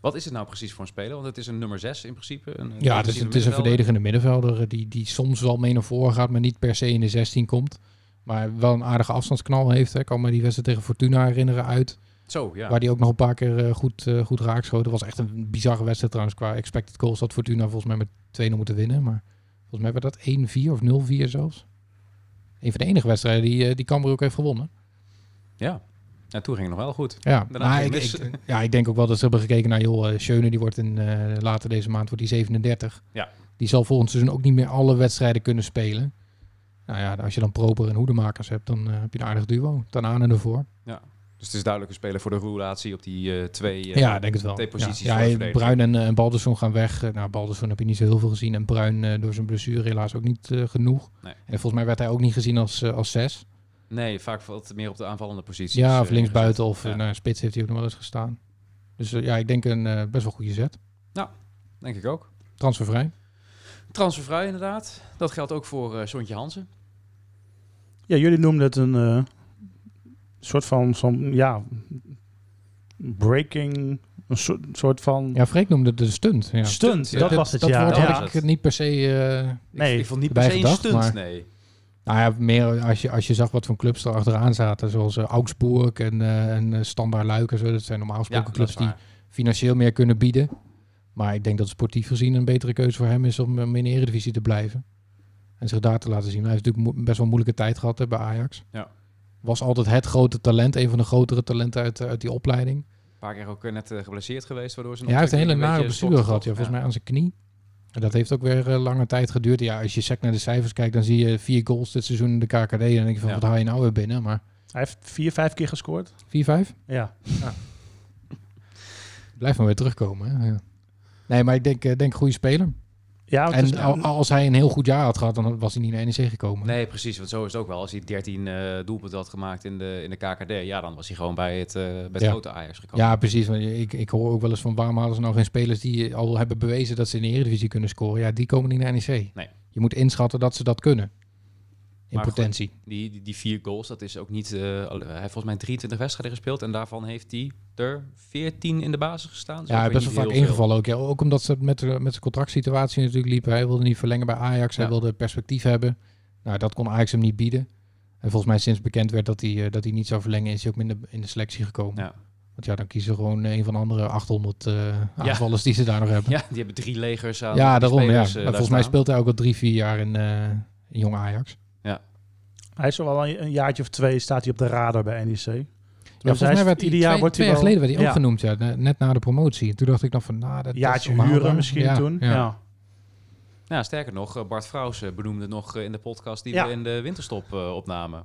Wat is het nou precies voor een speler? Want het is een nummer 6 in principe. Een, Ja, dus het is, het is een verdedigende middenvelder eh, die, die soms wel mee naar voren gaat, maar niet per se in de 16 komt. Maar wel een aardige afstandsknal heeft. Hè. Ik kan me die wedstrijd tegen Fortuna herinneren uit. Zo, ja. Waar die ook nog een paar keer eh, goed, eh goed raakschoten. Dat was echt een bizarre wedstrijd trouwens. Qua expected goals had Fortuna volgens mij met 2-0 moeten winnen. Maar volgens mij werd dat 1-4 of 0-4 zelfs. Een van de enige wedstrijden die, eh, die Cambuur ook heeft gewonnen. Ja. ja, toen ging het nog wel goed. Ja, Daarna maar ging ik, het mis. ik- ja, ik denk ook wel dat ze hebben gekeken naar joh, eh, Schöne, die wordt in, eh, later deze maand wordt die 37. Ja. Die zal volgend seizoen ook niet meer alle wedstrijden kunnen spelen. Nou ja, als je dan proper en hoedemakers hebt, dan eh, heb je een aardig duo. Ten aan en ervoor. Dus het is duidelijk een speler voor de roulatie op die eh, twee... Ja, eh, ik denk het wel. Twee posities ja, voor de ja, verdediging. Bruin en, eh, en Balderson gaan weg. Eh, nou, Balderson heb je niet zo heel veel gezien. En Bruin eh, door zijn blessure helaas ook niet eh, genoeg. Nee. En volgens mij werd hij ook niet gezien als, eh, als zes. Nee, vaak wat meer op de aanvallende posities. Ja, of eh, linksbuiten of Ja. eh, nou, spits heeft hij ook nog wel eens gestaan. Dus eh, ja, ik denk een eh, best wel goede zet. Denk ik ook. Transfervrij. Transfervrij inderdaad. Dat geldt ook voor eh Sontje Hansen. Ja, jullie noemden het een eh, soort van, zo'n, ja, breaking, een soort, soort van Ja, Freek noemde het de stunt. Ja. stunt. ja. Dat Dat- was het, dat ja. woord Ja. had ik het niet per se... eh, Ik, Nee, ik vond niet per erbij se een gedacht, stunt, maar- nee. nou ja, meer als je, als je zag wat voor clubs er achteraan zaten. Zoals eh, Augsburg en, eh en eh, Standaard Luik en zo. Dat zijn normaal Ja, gesproken dat is clubs die waar. financieel meer kunnen bieden. Maar ik denk dat sportief gezien een betere keuze voor hem is om eh, in de Eredivisie te blijven. En zich daar te laten zien. Hij heeft natuurlijk mo- best wel een moeilijke tijd gehad hè, bij Ajax. Ja. Was altijd het grote talent. Een van de grotere talenten uit, eh, uit die opleiding. Een paar keer ook eh, net eh, geblesseerd geweest, waardoor ze Ja, nog hij heeft een twee hele keer nare beetje blessure stokte, gehad, ja, toch? volgens mij aan zijn knie. En dat heeft ook weer eh, lange tijd geduurd. Ja, als je sec naar de cijfers kijkt, dan zie je vier goals dit seizoen in de KKD. En dan denk je van, Ja. wat haal je nou weer binnen? Maar Hij heeft vier, vijf keer gescoord. 4-5? Ja. Blijft maar weer terugkomen. Hè? Ja. Nee, maar ik denk, eh, denk goede speler. Ja, want en het is- al- als hij een heel goed jaar had gehad, dan was hij niet naar NEC gekomen. Nee, precies. Want zo is het ook wel. Als hij 13 eh doelpunten had gemaakt in de, in de KKD, ja, dan was hij gewoon bij het, eh, bij het Ja. grote Ajax gekomen. Ja, precies. Want ik, ik hoor ook wel eens van waarom halen ze nou geen spelers die al hebben bewezen dat ze in de Eredivisie kunnen scoren. Ja, die komen niet naar NEC. Nee. Je moet inschatten dat ze dat kunnen. In Maar goed, potentie. Die, die, die vier goals, dat is ook niet... eh, al- hij heeft volgens mij 23 wedstrijden gespeeld en daarvan heeft hij er 14 in de basis gestaan. Dus Ja, hij ook is best weer wel niet vaak heel veel. ingevallen ook. Ja. Ook omdat ze met, de- met zijn contractsituatie natuurlijk liepen. Hij wilde niet verlengen bij Ajax. Hij Ja. wilde perspectief hebben. Nou, dat kon Ajax hem niet bieden. En volgens mij sinds bekend werd dat hij, eh, dat hij niet zou verlengen... is hij ook minder in de selectie gekomen. Ja. Want ja, dan kiezen ze gewoon eh, een van de andere 800 eh aanvallers die ze daar nog hebben. Ja, Ja, die hebben drie legers aan spelers, daarom. eh, ja. daar Maar volgens mij staan. speelt hij ook al drie, vier jaar in, eh, in jong Ajax. Hij is al een, een jaartje of twee staat hij op de radar bij NEC. Ja, volgens Dus hij is- mij werd die ieder jaar twee, wordt twee hij jaar wel- geleden werd hij ook Ja. genoemd, ja, ne- net na de promotie. En toen dacht ik dan van, nou, dat Een is jaartje onhaalbaar. huren misschien Ja, toen. Ja. Nou, sterker nog, eh, Bart Vrouws eh, benoemde het nog eh, in de podcast die Ja. we in de winterstop eh, opnamen.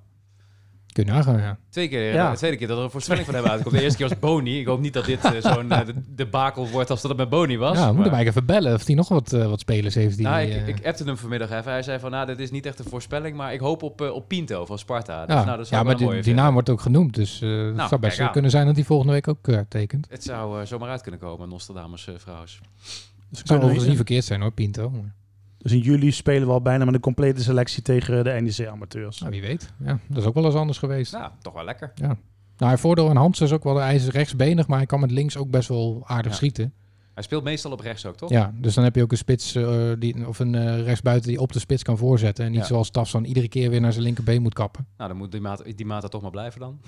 Kun je nagaan, ja. Twee keer, eh, Ja. de tweede keer dat er een voorspelling van hem uitkomt. De eerste keer was Boni. Ik hoop niet dat dit eh, zo'n eh, de- debakel wordt als dat het met Boni was. ja, we moeten maar- hem eigenlijk even bellen of hij nog wat, eh, wat spelers heeft die... nou, ik, eh, ik appte hem vanmiddag even. Hij zei van, nou, dit is niet echt een voorspelling, maar ik hoop op, eh, op Pinto van Sparta. Dus, ja, nou, dat ja zou maar wel die, mooi Nou, die naam wordt ook genoemd, dus eh, het zou kijk best wel aan. kunnen zijn dat hij volgende week ook eh, tekent. Het zou eh, zomaar uit kunnen komen, Nostradamus eh Vrouws. Dus, zou Nou, kunnen we- overigens niet verkeerd zijn hoor, Pinto. Maar, dus in juli spelen we al bijna met een complete selectie tegen de NEC amateurs. nou, wie weet. Ja, dat is ook wel eens anders geweest. Nou, toch wel lekker. Nou, hij voordeel aan Hansen is ook wel, hij is rechtsbenig, maar hij kan met links ook best wel aardig Ja. schieten. Hij speelt meestal op rechts ook, toch? Ja, dus dan heb je ook een spits eh, die, of een eh, rechtsbuiten die op de spits kan voorzetten. En niet Ja. zoals Tafsan iedere keer weer naar zijn linkerbeen moet kappen. Nou, dan moet die maat, die maat er toch maar blijven dan.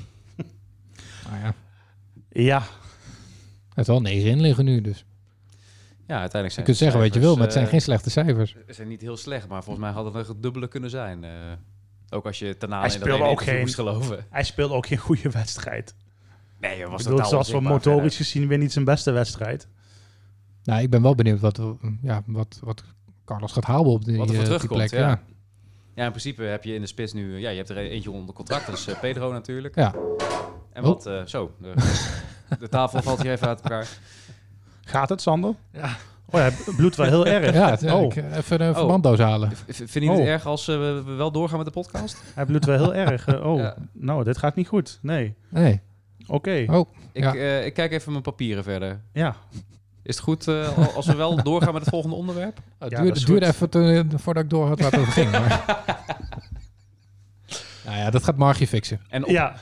Nou ja, hij Ja, heeft wel negen in liggen nu, dus Ja, eh, uiteindelijk je zijn kunt zeggen wat je wil, maar het zijn geen geen slechte cijfers. zijn niet heel slecht, maar volgens mij hadden we het dubbele kunnen zijn. eh. ook als je ten Hij aanleiding speelde ook geen- moest geloven. hij speelde ook geen goede wedstrijd. Nee, dat was ik bedoel, totaal zoals we onzichtbaar motorisch verder. gezien weer niet zijn beste wedstrijd. Nou, ik ben wel benieuwd wat, we- ja, wat, wat Carlos gaat halen op die, Wat er voor eh, die terugkomt, plek. ja. Ja, in principe heb je in de spits nu... eh, Ja, je hebt er e- eentje onder contract, dat is eh, Pedro natuurlijk. Ja. Oh. En wat... eh, zo, de, de tafel valt hier even uit elkaar. Gaat het, Sander? Ja. Oh ja, het bloedt wel heel erg. Ja, het- Oh. ik, eh, even een verbanddoos halen. V- v- Vind je het Oh. erg als eh, we we wel doorgaan met de podcast? Hij bloedt wel heel erg. Eh, Oh, Ja. nou, dit gaat niet goed. Nee, Nee. oké. Oh, Ik, Ja. eh, ik kijk even mijn papieren verder. Ja, Is het goed eh, al- als we wel doorgaan met het volgende onderwerp? het Ja, dat duurde, is duurde goed. even toen- voordat ik door had waar het over ging. Maar. nou ja, dat gaat Margie fixen. En, op, ja.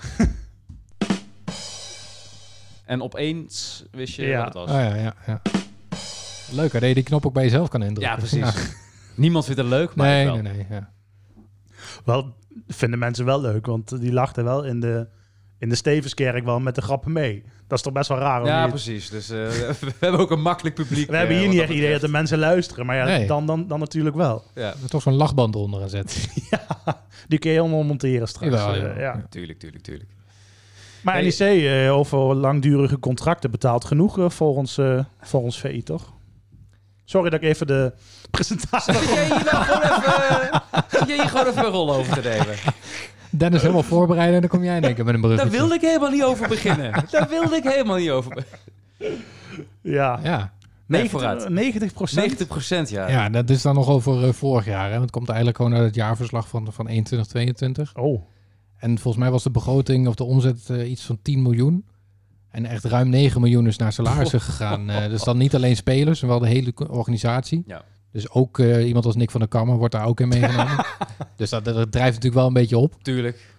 en opeens wist je Ja. wat het was. Oh, ja, ja, ja. Leuk hè, dat je die knop ook bij jezelf kan indrukken. Ja, precies. Niemand vindt het leuk, maar Nee, ik wel. nee, nee. Ja. Wel, vinden mensen wel leuk, want die lachten wel in de, in de Stevenskerk wel met de grappen mee. Dat is toch best wel raar. om Ja, hier- precies. Dus eh, we hebben ook een makkelijk publiek. we hebben eh, hier wat niet dat echt idee dat de betreft. mensen luisteren, maar ja, Nee. dan, dan, dan natuurlijk wel. Ja, Er toch zo'n lachband onder aan zetten. Die kun je helemaal monteren straks. Jawel, eh, ja. ja. tuurlijk, tuurlijk, tuurlijk. Maar Hey. NEC eh, over langdurige contracten betaalt genoeg eh, volgens, eh, volgens VI, toch? Sorry dat ik even de presentatie... Zit jij hier nou gewoon even, eh, zit jij hier gewoon even een rol over te nemen? Dennis helemaal voorbereiden en dan kom jij in één keer met een Daar bruggetje. wilde ik helemaal niet over beginnen. Daar wilde ik helemaal niet over beginnen. Ja, Ja. Nee, vooruit. 90 procent. 90 procent, ja. ja, dat is dan nog over eh, vorig jaar. Hè? Want het komt eigenlijk gewoon uit het jaarverslag van, van 21, 22. Oh, En volgens mij was de begroting of de omzet eh, iets van 10 miljoen. En echt ruim 9 miljoen is naar salarissen gegaan. Eh, dus dan niet alleen spelers, maar wel de hele co- organisatie. Ja. Dus ook eh, iemand als Nick van der Kammer wordt daar ook in meegenomen. dus dat, dat drijft natuurlijk wel een beetje op. Tuurlijk.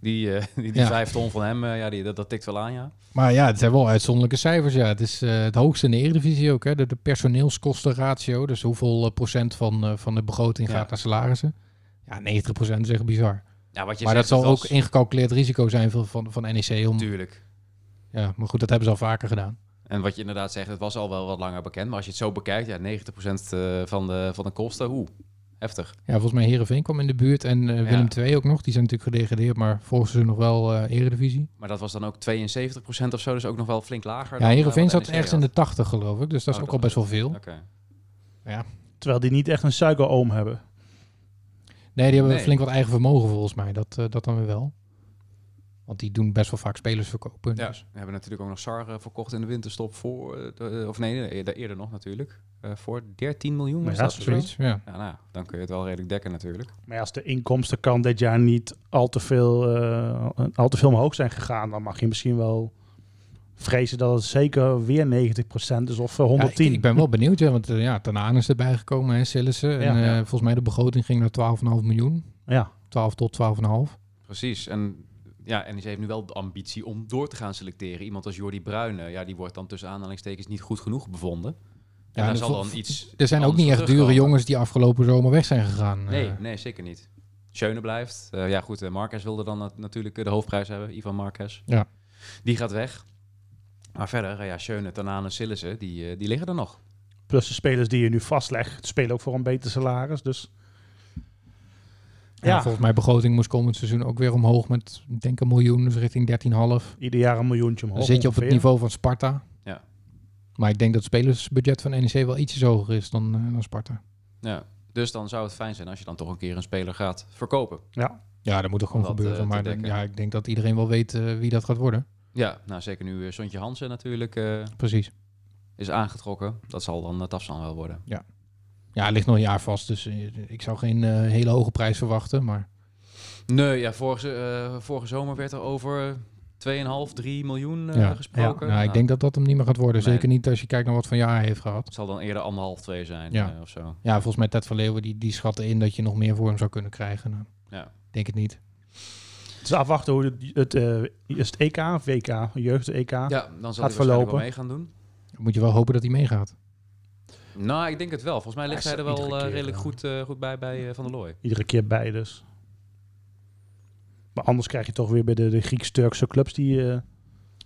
Die, eh, die, die Ja. vijf ton van hem, eh, ja, die, dat, dat tikt wel aan, ja. Maar ja, het zijn wel uitzonderlijke cijfers. Ja. Het is eh, het hoogste in de Eredivisie ook. Hè. De, de personeelskostenratio, dus hoeveel eh, procent van, eh, van de begroting Ja. gaat naar salarissen. Ja, 90 procent is echt bizar. ja wat je maar dat zegt, zal het ook was- ingecalculeerd risico zijn van, van, van NEC. Om, Tuurlijk. ja, maar goed, dat hebben ze al vaker gedaan. En wat je inderdaad zegt, het was al wel wat langer bekend. Maar als je het zo bekijkt, ja, 90% eh, van de, van de kosten, hoe? Heftig. Ja, volgens mij Herenveen kwam in de buurt en eh, Willem Ja. II ook nog. Die zijn natuurlijk gedegradeerd, maar volgens ze nog wel eh, Eredivisie. Maar dat was dan ook 72% of zo, dus ook nog wel flink lager. Ja, dan, eh, Herenveen wat zat NEC ergens had. in de 80 geloof ik, dus dat is Oh, ook al dat- best wel veel. Oké. terwijl die niet echt een suikeroom hebben. Nee, die hebben Nee. flink wat eigen vermogen volgens mij, dat, eh, dat dan weer wel. Want die doen best wel vaak spelers verkopen. Ja, dus. we hebben natuurlijk ook nog Sar eh, verkocht in de winterstop voor, eh, de- of nee, nee, eerder, eerder nog natuurlijk, Eh, voor 13 miljoen. Maar was ja, dat of zo? Zoiets, ja. Ja, nou, dan kun je het wel redelijk dekken natuurlijk. Maar als de inkomstenkant dit jaar niet al te veel, eh, al te veel omhoog zijn gegaan, dan mag je misschien wel vrezen dat het zeker weer 90% is of eh, Ja, 110. ik, ik ben wel benieuwd, ja, want eh, ja, Ten Hag is erbij gekomen, hè, Sillissen. en Ja. eh, Ja. volgens mij de begroting ging naar 12,5 miljoen. Ja. 12 tot 12,5. Precies, en ja, en ze heeft nu wel de ambitie om door te gaan selecteren. Iemand als Jordi Bruyne, ja, die wordt dan tussen aanhalingstekens niet goed genoeg bevonden. En Ja, daar en zal vol- dan iets Er zijn ook anders niet echt voor dure terugkomen. jongens die afgelopen zomer weg zijn gegaan. Nee, eh. nee, zeker niet. Schöne blijft. Eh, ja, goed. eh, Marquez wilde dan nat- natuurlijk eh, de hoofdprijs hebben. Ivan Marquez. Ja. Die gaat weg. Maar verder, eh, ja, Schöne, Tanane en Sillissen, die, eh, die liggen er nog. Plus de spelers die je nu vastlegt, spelen ook voor een beter salaris. Dus Ja. Ja. volgens mij begroting moest komend seizoen ook weer omhoog met, ik denk een miljoen, dus richting 13,5. Ieder jaar een miljoentje Dan omhoog. zit je op het ongeveer. niveau van Sparta. Ja. Maar ik denk dat het spelersbudget van NEC wel ietsjes hoger is dan, eh, dan Sparta. Ja. Dus dan zou het fijn zijn als je dan toch een keer een speler gaat verkopen. Ja, dat moet er gewoon dat, gebeuren. eh, te maar dan- dekken. ja, ik denk dat iedereen wel weet eh, wie dat gaat worden. Ja, nou zeker nu eh, Sontje Hansen natuurlijk eh, Precies. is aangetrokken. Dat zal dan het afstand wel worden. Ja, het ligt nog een jaar vast, dus eh, ik zou geen eh, hele hoge prijs verwachten. Maar Nee, ja, vorige, eh, vorige zomer werd er over 2,5, 3 miljoen eh, Ja. gesproken. nou, ik denk dat dat hem niet meer gaat worden. Nee. Zeker niet als je kijkt naar wat Van Jaar heeft gehad. Het zal dan eerder anderhalf, twee zijn Ja. eh, of zo. Ja, volgens mij Ted van Leeuwen die, die schatte in dat je nog meer voor hem zou kunnen krijgen. Nou, Ja. ik denk het niet. Het is Dus afwachten hoe het, het, eh, is het EK of WK, jeugd-EK. Ja, dan zal hij waarschijnlijk verlopen. wel mee gaan doen. Dan moet je wel hopen dat hij meegaat. Nou, ik denk het wel. Volgens mij ligt Hij hij er staat wel iedere eh, keer, redelijk eh, goed, eh, goed bij bij eh, Van der Looy. Iedere keer bij dus. Maar anders krijg je toch weer bij de, de Grieks-Turkse clubs die... eh,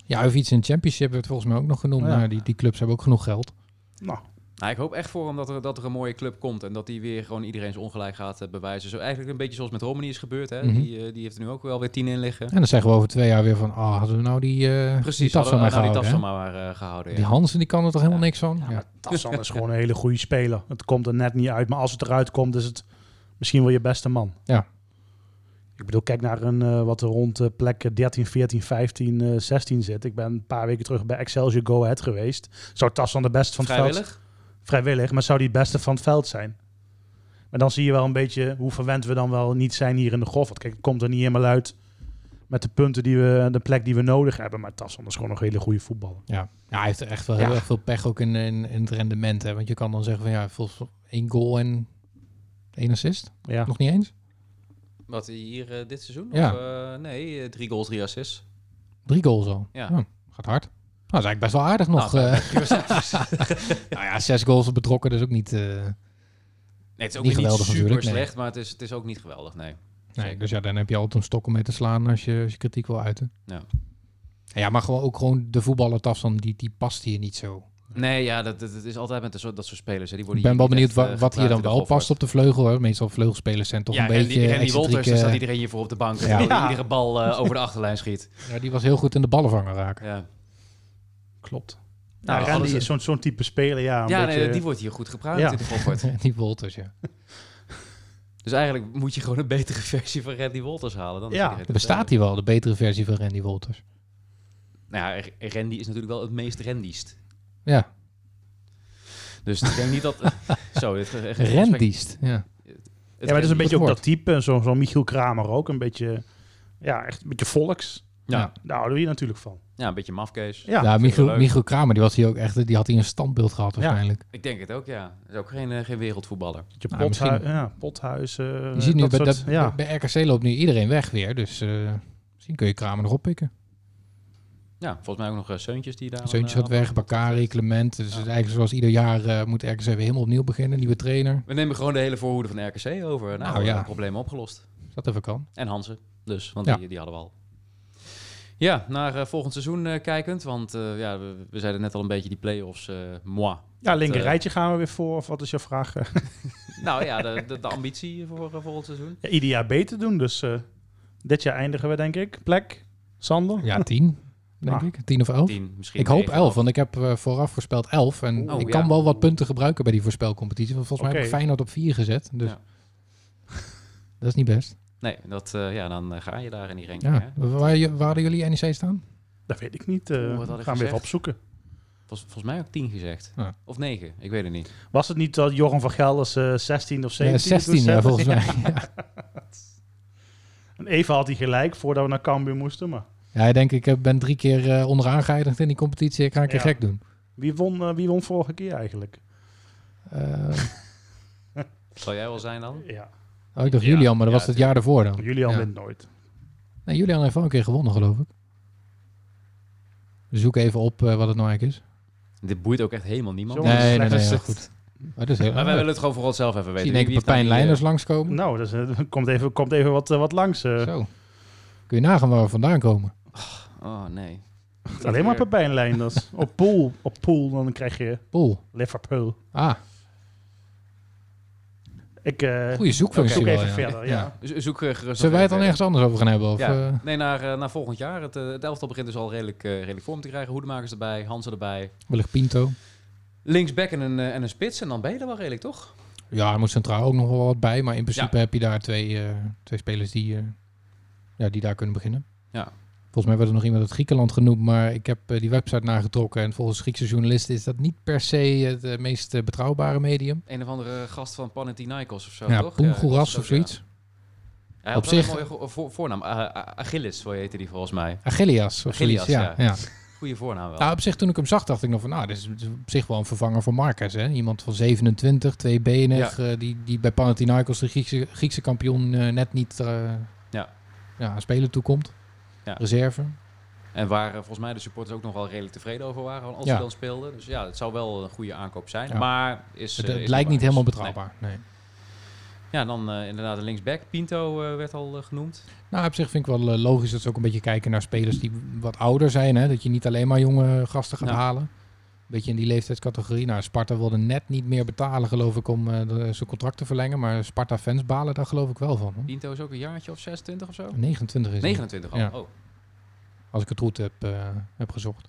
Ja, of iets in championship werd volgens mij ook nog genoemd. Ja. Nou, die, die clubs hebben ook genoeg geld. nou, Nou, ik hoop echt voor hem dat er, dat er een mooie club komt. En dat hij weer gewoon iedereen zijn ongelijk gaat eh, bewijzen. Zo, eigenlijk een beetje zoals met Romani is gebeurd. Hè? Mhm. Die, eh, die heeft er nu ook wel weer tien in liggen. En dan zeggen we over twee jaar weer van, ah, hadden we nou die, eh die Precies, Tafsan hadden maar we nou die gehouden. Tafsan hè? maar eh, gehouden. ja. Die Hansen, die kan er toch helemaal Ja. niks van? Ja, Tassan is gewoon een hele goede speler. Het komt er net niet uit, maar als het eruit komt, is het misschien wel je beste man. Ja. Ik bedoel, kijk naar een, eh, wat er rond eh, plek eh, 13, 14, 15, eh, 16 zit. Ik ben een paar weken terug bij Excelsior Go Ahead geweest. Zou Tassan de beste van het veld Vrijwillig? Vrijwillig, maar zou die het beste van het veld zijn? Maar dan zie je wel een beetje hoe verwend we dan wel niet zijn hier in de golf. Want kijk, het komt er niet helemaal uit met de punten die we, de plek die we nodig hebben. Maar Tassan is gewoon nog een hele goede voetballer. ja. ja hij heeft echt wel Ja. heel erg veel pech ook in, in, in het rendement. Hè? Want je kan dan zeggen van, ja, volgens één goal en één assist. Ja. Nog niet eens? Wat hij hier eh, dit seizoen? Ja. Of, eh, nee, eh, drie goals, drie assists. Drie goals al. Hm, Ja. gaat hard. Nou, dat is eigenlijk best wel aardig nog. Nou, eh. nou ja, zes goals betrokken, dus ook niet... eh, Nee, het is ook Niet weer niet geweldig super natuurlijk, nee. slecht, maar het is, het is ook niet geweldig, nee. Nee, Zeker. dus ja, dan heb je altijd een stok om mee te slaan als je, als je kritiek wil uiten. Ja. Ja, maar gewoon ook gewoon de voetballer Tafsan, die, die past hier niet zo. Nee, ja, dat, dat, dat is altijd met de soort, dat soort spelers. Hè. Die Ik worden ben wel hier niet benieuwd echt, wa- eh, wat hier dan gebruikt in de wel golf, past hoor. op de vleugel. Hoor. Meestal vleugelspelers zijn toch ja, een beetje eh, en die Wolters, dus daar excentrieke- staat iedereen hier voor op de bank. terwijl die iedere bal eh, over de achterlijn schiet. Ja, die was heel goed in de ballenvanger raken. Ja, Klopt. Nou, Nou, alles- Randy is zo'n zo'n type speler, ja. Een ja beetje, nee, die wordt hier goed gebruikt Ja. in de golfport. die Wolters, ja. Dus eigenlijk moet je gewoon een betere versie van Randy Wolters halen. Dan Ja, Er bestaat hij. hier wel, de betere versie van Randy Wolters. eh, Nou ja, R- Randy is natuurlijk wel het meest Randyst. Ja, Dus ik denk niet dat... Zo, dit, eh, Rendiest. Ja. ja, maar het is een beetje ook wordt. dat type. en Zo'n zo'n Michiel Kramer ook. Een beetje, ja, echt een beetje volks. Ja, Daar houden we hier natuurlijk van. ja, een beetje mafkees. Ja, ja, wel Michiel, leuk. Michiel Kramer, die, was hier ook echt, die had hier een standbeeld gehad waarschijnlijk. Ik denk het ook, ja. Is ook geen, eh, geen wereldvoetballer. beetje Nou, pothui- misschien- ja, pothuis. eh, je ziet nu, dat bij, soort- dat- ja. bij RKC loopt nu iedereen weg weer, dus eh, misschien kun je Kramer nog oppikken. Ja, volgens mij ook nog eh, Seuntjes die daar... eh, Zeuntjes aan- gaat weg, Bakari, Clement. Dus het is eigenlijk zoals ieder jaar eh, moet RKC weer helemaal opnieuw beginnen. Nieuwe trainer. We nemen gewoon de hele voorhoede van de RKC over. Nou, Nou, eh, ja. probleem opgelost. Als dat even kan. En Hansen dus, want Ja. die, die hadden we al. Ja, naar eh, volgend seizoen eh, kijkend. Want eh, ja, we, we zeiden net al een beetje die play-offs. eh moi. ja, linker eh, rijtje gaan we weer voor. Of wat is je vraag? Nou ja, de, de, de ambitie voor eh, volgend seizoen. Ja, ieder jaar beter doen. Dus eh, dit jaar eindigen we, denk ik. Plek, Sander. Ja, tien, denk Ah. ik. Tien of elf. 10 misschien. Ik hoop negen, elf, want ik heb eh, vooraf voorspeld elf. En Oeh, ik ja. kan wel wat punten gebruiken bij die voorspelcompetitie. Want volgens mij heb ik Oké. Feyenoord op vier gezet. Dus Ja. dat is niet best. Nee, dat, eh, ja, dan eh, ga je daar in die ranking. Hè? Ja. Waar, je- waar hadden jullie NEC staan? Dat weet ik niet. eh, Oeh, wat had ik gaan we gezegd? even opzoeken. Volgens- volgens mij ook 10 gezegd. Ja. Of 9, ik weet het niet. Was het niet dat Joran van Gelders eh 16 of 17? Ja, toen 16 ja, zette? volgens mij. Ja. En even had hij gelijk voordat we naar Cambuur moesten. Maar Ja, ik denk ik eh, ben drie keer eh, onderaan geëindigd in die competitie. Ik ga een keer Ja. gek doen. wie won, eh, wie won vorige keer eigenlijk? Eh, Zal jij wel zijn dan? Ja, oh, ik dacht Ja. Julian, maar dat Ja, was het jaar daarvoor dan. Julian Ja. wint nooit. Nee, Julian heeft wel een keer gewonnen, geloof ik. Zoek even op eh, wat het nou eigenlijk is. Dit boeit ook echt helemaal niemand. Zo. Nee, nee, nee, slecht is ja, het. goed. Maar dat is heel Maar wij willen het gewoon voor onszelf even weten. Zie je Wie- wie Pepijn heeft nou die, eh, Leiners langskomen? Nou, dus, eh, er komt even, komt even wat, eh, wat langs. mm. eh. Zo. Kun je nagaan waar we vandaan komen? Oh nee. Het is alleen maar Pepijnlijnders. op pool, op pool, dan krijg je Ah, Poel. Liverpool. Ah, Ik eh, Goede zoekfunctie zoek wel, even ja. verder. Ja. Ja. Zo- Zoek eh, gerust. Zullen wij nog het dan even ergens anders over gaan hebben? Of, verder. eh, Ja, nee, naar, eh, naar volgend jaar. Het, eh, het elftal begint dus al redelijk, eh, redelijk vorm te krijgen. Hoedemakers erbij, Hansen erbij. wellicht Pinto. Linksback en een, eh, en een spits. En dan ben je er wel redelijk, toch? Ja, er moet centraal ook nog wel wat bij. Maar in principe heb je daar twee, eh, twee spelers die, eh, ja, die daar kunnen beginnen. Ja. Volgens mij werd er nog iemand uit Griekenland genoemd, maar ik heb eh, die website nagetrokken. En volgens Griekse journalisten is dat niet per se het eh, meest eh, betrouwbare medium. Een of andere gast van Panathinaikos of zo, ja, toch? Poengoeras dat is of ook, ja. zoiets. Hij Op had wel zich- een mooie go- voor- voornaam. Ah, ah, Achilles, hoe heette die volgens mij. Achilles of Achilles, zoiets, ja. ja. ja. Goeie voornaam wel. Nou, op zich toen ik hem zag, dacht ik nog van, nou, dit is dit is op zich wel een vervanger voor Marquez. Hè? Iemand van 27, tweebenig, eh die, die bij Panathinaikos, de Griekse, Griekse kampioen, eh, net niet eh, Ja. Ja, aan spelen toekomt. Ja. Reserve. En waar eh, volgens mij de supporters ook nog wel redelijk tevreden over waren als Ja. hij dan speelde. Dus ja, het zou wel een goede aankoop zijn. Ja. Maar is, Het, eh, het is lijkt niet waar. helemaal Nee. betrouwbaar. Nee. Ja, dan eh, inderdaad een linksback. Pinto eh, werd al eh, genoemd. Nou, op zich vind ik wel eh, logisch dat ze ook een beetje kijken naar spelers die wat ouder zijn. Hè? Dat je niet alleen maar jonge gasten gaat Ja. halen. Een beetje in die leeftijdscategorie. Nou, Sparta wilde net niet meer betalen, geloof ik, om eh, de- zijn contract te verlengen. Maar Sparta-fans balen daar geloof ik wel van. hoor. Pinto is ook een jaartje of 26 of zo. 29 is hij. 29 al. Ja. Oh. Oké, als ik het goed heb, eh, heb gezocht.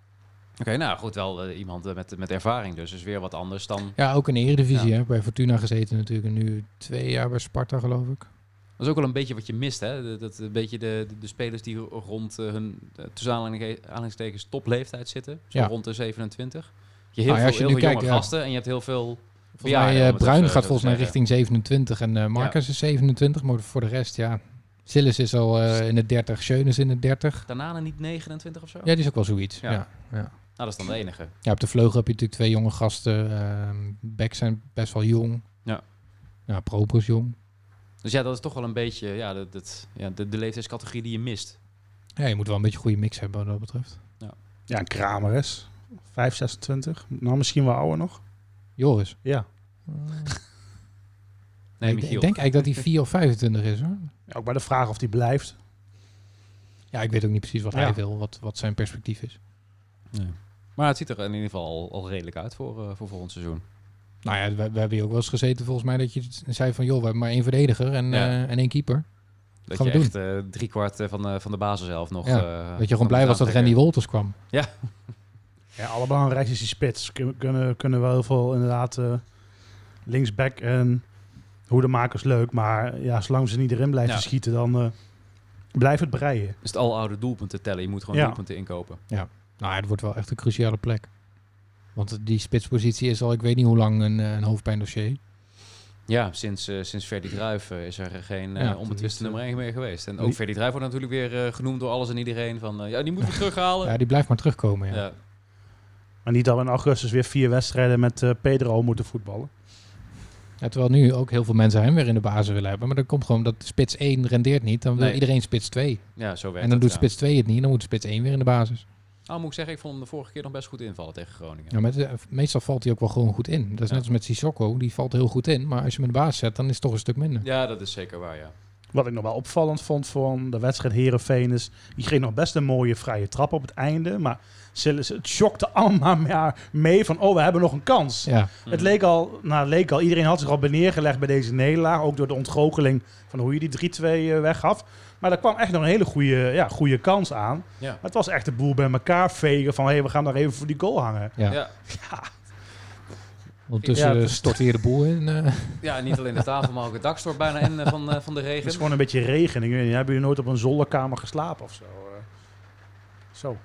nou goed, wel eh, iemand eh, met, met ervaring dus. Dus weer wat anders dan... Ja, ook in de Eredivisie. Hè? Bij Fortuna gezeten natuurlijk. En nu twee jaar bij Sparta, geloof ik. Dat is ook wel een beetje wat je mist, hè? Dat, dat een beetje de, de, de spelers die rond eh, hun, eh, tussen aanhaling- aanhalingstekens, topleeftijd zitten. Zo Ja. Nou rond de 27. Je hebt heel ja, als veel, je heel nu veel jonge kijkt, ja. gasten en je hebt heel veel... Volgens mij, bejaarden, eh, om het Bruin even gaat zo te volgens mij zeggen. richting 27. En eh Marcus is 27. Maar voor de rest, ja. Sillis is al eh, in de 30. Schön is in de 30. Daarna niet 29 of zo? Ja, die is ook wel zoiets. Ja. Ja. Ja. Nou, dat is dan de enige. op de vleugel heb je natuurlijk twee jonge gasten. ehm Beck zijn best wel jong. Ja. Ja, Proper is jong. Dus ja, dat is toch wel een beetje ja, dat, dat, ja, de, de leeftijdscategorie die je mist. Ja, je moet wel een beetje een goede mix hebben wat dat betreft. ja, een Kramer is. 5, 26. Nou, misschien wel ouder nog. Joris. Ja. Nee, ik, ik Michiel. denk eigenlijk dat hij 4 of 25 is hoor. Ja, Ook bij de vraag of die blijft. Ja, ik weet ook niet precies wat Ja. hij wil, wat, wat zijn perspectief is. Maar het ziet er in ieder geval al, al redelijk uit voor, eh, voor volgend seizoen. Nou ja, we, we hebben hier ook wel eens gezeten volgens mij dat je zei van... joh, we hebben maar één verdediger en, Ja. eh, en één keeper. Dat Gaan je we doen. echt eh driekwart eh, van, de- van de basis zelf nog... Ja, eh, dat je nog gewoon blij moet was dat aantrekken. Randy Wolters kwam. Ja, allebelangrijk is die spits. Kun- Kunnen, kunnen wel heel veel inderdaad eh, linksback en hoedemakers leuk. Maar ja, zolang ze niet erin blijven Ja. schieten, dan eh, blijft het breien. is het al oude doelpunten tellen. Je moet gewoon Ja. doelpunten inkopen. Nou, het wordt wel echt een cruciale plek. Want die spitspositie is al ik weet niet hoe lang een, eh, een hoofdpijndossier. Ja, sinds, eh sinds Ferdy Druijf eh, is er geen eh Ja, onbetwiste dat is, nummer 1 meer geweest. En ook die- Ferdy Druijf wordt natuurlijk weer eh, genoemd door alles en iedereen. Van, eh, ja, die moeten we terughalen. Ja, die blijft maar terugkomen. Ja. ja. Maar niet dat we in augustus weer vier wedstrijden met eh, Pedro moeten voetballen. Ja, terwijl nu ook heel veel mensen hem weer in de basis willen hebben. Maar dan komt gewoon dat spits 1 rendeert niet. Dan wil Nee. iedereen spits 2. Ja, zo werkt En dan het, doet ja. spits 2 het niet. En dan moet spits 1 weer in de basis. Nou, moet ik zeggen, ik vond hem de vorige keer nog best goed invallen tegen Groningen. Ja, met, eh, meestal valt hij ook wel gewoon goed in. Dat is Ja. net als met Sissoko. Die valt heel goed in. Maar als je hem in de basis zet, dan is het toch een stuk minder. Ja, dat is zeker waar, ja. Wat ik nog wel opvallend vond van de wedstrijd Herenveen is... Die kreeg nog best een mooie vrije trap op het einde. Maar Sillis, het schokte allemaal maar mee van... Oh, we hebben nog een kans. Ja, Mhm. Het leek al, nou, het leek al, iedereen had zich al beneergelegd bij deze nederlaag. Ook door de ontgoocheling van hoe je die 3-2 eh, weggaf. Maar daar kwam echt nog een hele goede, ja, goede kans aan. Ja. Maar het was echt de boel bij elkaar vegen van... Hé, hey, we gaan daar even voor die goal hangen. Ja. Ja. Ondertussen Ja, eh, stort hier de boel in. eh. ja, niet alleen de tafel, maar ook het dak stort bijna in eh, van, eh, van de Het is regen. gewoon een beetje regen. Ik weet niet, hebben jullie nooit op een zolderkamer geslapen of zo? eh? Zo.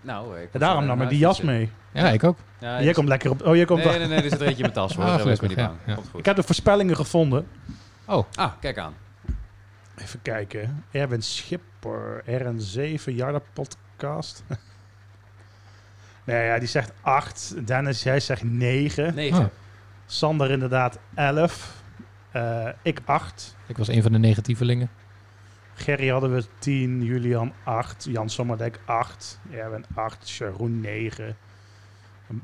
Nou, ik En daarom nam ik die jas mee. ja, ik ook. eh, Ja, Jij ik- komt lekker op... Oh, jij komt... Nee, nee, nee, er zit er eentje in mijn tas hoor. Ah, Daar ben ik me gelukkig, niet bang. ja, ja. Komt Ik goed. heb de voorspellingen gevonden. Oh, Ah, kijk aan. Even kijken. Erwin Schipper, RN7, Jarda podcast. nee, ja, die zegt 8. Dennis, jij zegt 9. 9. Ah. Sander inderdaad 11. Eh, ik 8. ik was een van de negatievelingen. Gerry hadden we 10. Julian 8. Jan Sommerdijk 8. Erwin 8. Sharon 9.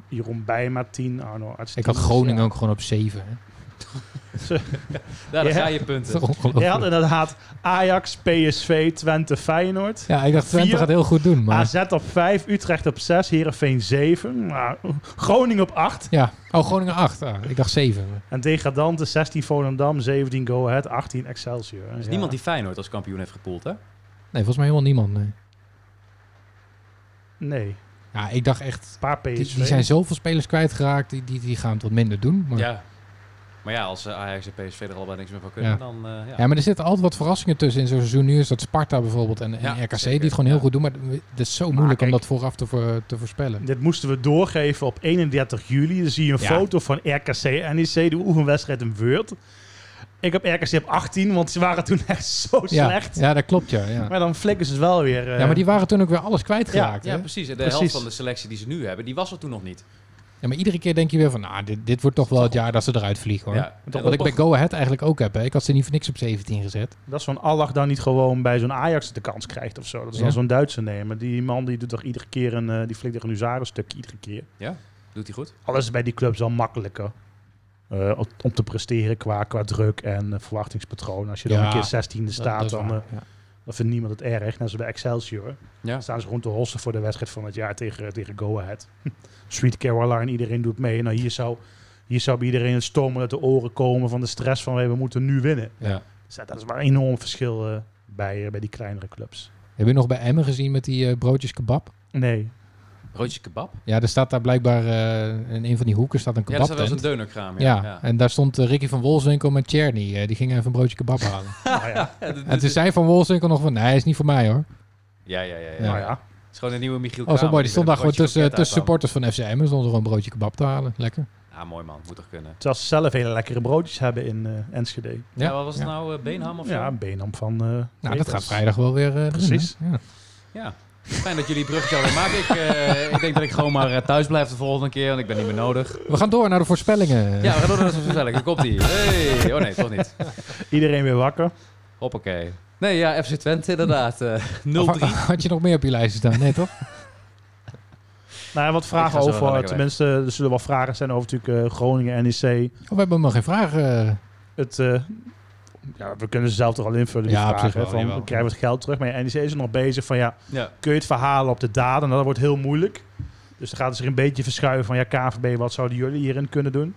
Jeroen Bijma 10. Arno Arts Ik had 10. Groningen Ja. ook gewoon op 7. Daar Ja. ga je punten. Je had inderdaad Ajax, PSV, Twente, Feyenoord. Ja, ik dacht Twente Vier. Ah, gaat heel goed doen, maar... AZ op 5, Utrecht op 6, Heerenveen 7, maar Groningen op 8. Ja. Oh, Groningen 8. Ah, ik dacht 7. En degradanten 16 Volendam, 17 Go Ahead, 18 Excelsior. Er is niemand die Feyenoord als kampioen heeft gepoeld, hè? Nee, volgens mij helemaal niemand. Nee. Nee, Ja, ik dacht echt... een paar Die, PSV. die zijn zoveel spelers kwijtgeraakt, die, die, die gaan het wat minder doen. Maar, ja. Ja. Maar ja, als eh, Ajax en PSV er allebei niks meer van kunnen, Ja. dan... eh, ja. maar er zitten altijd wat verrassingen tussen in zo'n seizoen. Nu is dat Sparta bijvoorbeeld en, en Ja, RKC, zeker. die het gewoon heel Ja. goed doen. Maar het is zo moeilijk om Ah, kijk. dat vooraf te, voor- te voorspellen. Dit moesten we doorgeven op 31 juli. Dan zie je een Ja. foto van RKC en NEC, de oefenwedstrijd in Weurt. Ik heb RKC op 18, want ze waren toen echt zo Ja, slecht. ja, dat klopt, ja. Ja. Maar dan flikken ze het wel weer. eh, ja, maar die waren toen ook weer alles kwijtgeraakt. Ja, hè? precies. De helft Precies. van de selectie die ze nu hebben, die was er toen nog niet. Ja, maar iedere keer denk je weer van, nou, dit, dit wordt toch wel het jaar dat ze eruit vliegen hoor. Ja. En Wat ik bij toch- Go Ahead eigenlijk ook heb. Hè. Ik had ze niet voor niks op 17 gezet. eh, Dat is van Allah dan niet gewoon bij zo'n Ajax de kans krijgt of zo. Dat is Ja. dan zo'n Duitse nemen. Die man die doet toch iedere keer een, eh, die flikt er een huzarenstukje iedere keer. Doet hij goed? Alles is bij die clubs wel makkelijker. eh, om- om te presteren qua, qua druk en eh, verwachtingspatroon. Als je dan Ja, een keer 16e Dat- staat, dat is dan, waar, eh, ja. dan vindt niemand het erg. Net zoals bij Excelsior. Ja. Dan staan ze gewoon te hossen voor de wedstrijd van het jaar tegen, tegen Go Ahead. Sweet Caroline, iedereen doet mee. Nou, hier zou, hier zou bij iedereen het stomen uit de oren komen van de stress van hey, we moeten nu winnen. Ja. Dus dat is wel een enorm verschil eh, bij, eh, bij die kleinere clubs. Heb je nog bij Emmen gezien met die eh, broodjes kebab? Nee. Broodje kebab? Ja, er staat daar blijkbaar eh, in een van die hoeken staat een Ja, dat is wel eens kebabtent. een deunerkraam. Ja, Ja, ja. en daar stond eh, Ricky van Wolfswinkel met Tjerny. eh, die gingen even een broodje kebab halen. Nou ja. Ja, dit- en toen dit- zei van Wolfswinkel nog van, nee, is niet voor mij hoor. ja, ja, ja, ja. Nou ja. Het is gewoon een nieuwe Michiel Oh, zo Kramer, mooi. Die stond daar met een gewoon broodje tussen, kroket tussen uithaalt. supporters van FC Emmen. Stonden er gewoon een broodje kebab te halen. Lekker. Ah, mooi man. Moet toch kunnen. Terwijl ze zelf hele lekkere broodjes hebben in eh, Enschede. Ja, Ja, wat was het ja. nou? eh, Beenham of zo? Ja, een beenham van... eh, Nou, Peters. dat gaat vrijdag wel weer. eh, erin, Precies. hè? Ja. Ja. Fijn dat jullie het bruggetje alweer maken. Ik, eh, ik denk dat ik gewoon maar eh, thuis blijf de volgende keer, want ik ben niet meer nodig. We gaan door naar de voorspellingen. Ja, we gaan door naar de voorspelling. Daar komt die. Hey. Oh nee, toch niet. Iedereen weer wakker. Hoppakee. Nee, ja, FC Twente inderdaad. eh 0-3. Of Had je nog meer op je lijst staan? Nee, toch? Nou ja, wat Ik ga vragen zo wel over... lekker Tenminste, er zullen wel vragen zijn over natuurlijk eh, Groningen, NEC. Oh, we hebben nog geen vragen. eh. Het, eh, ja, we kunnen ze zelf toch al invullen, die Ja, op vragen. zich wel, hè, van, jawel. krijgen we het geld terug? Maar ja, NEC is nog bezig van... ja, Ja. kun je het verhalen op de daden? Nou, dat wordt heel moeilijk. Dus dan gaat het zich een beetje verschuiven van... ja, KVB, wat zouden jullie hierin kunnen doen?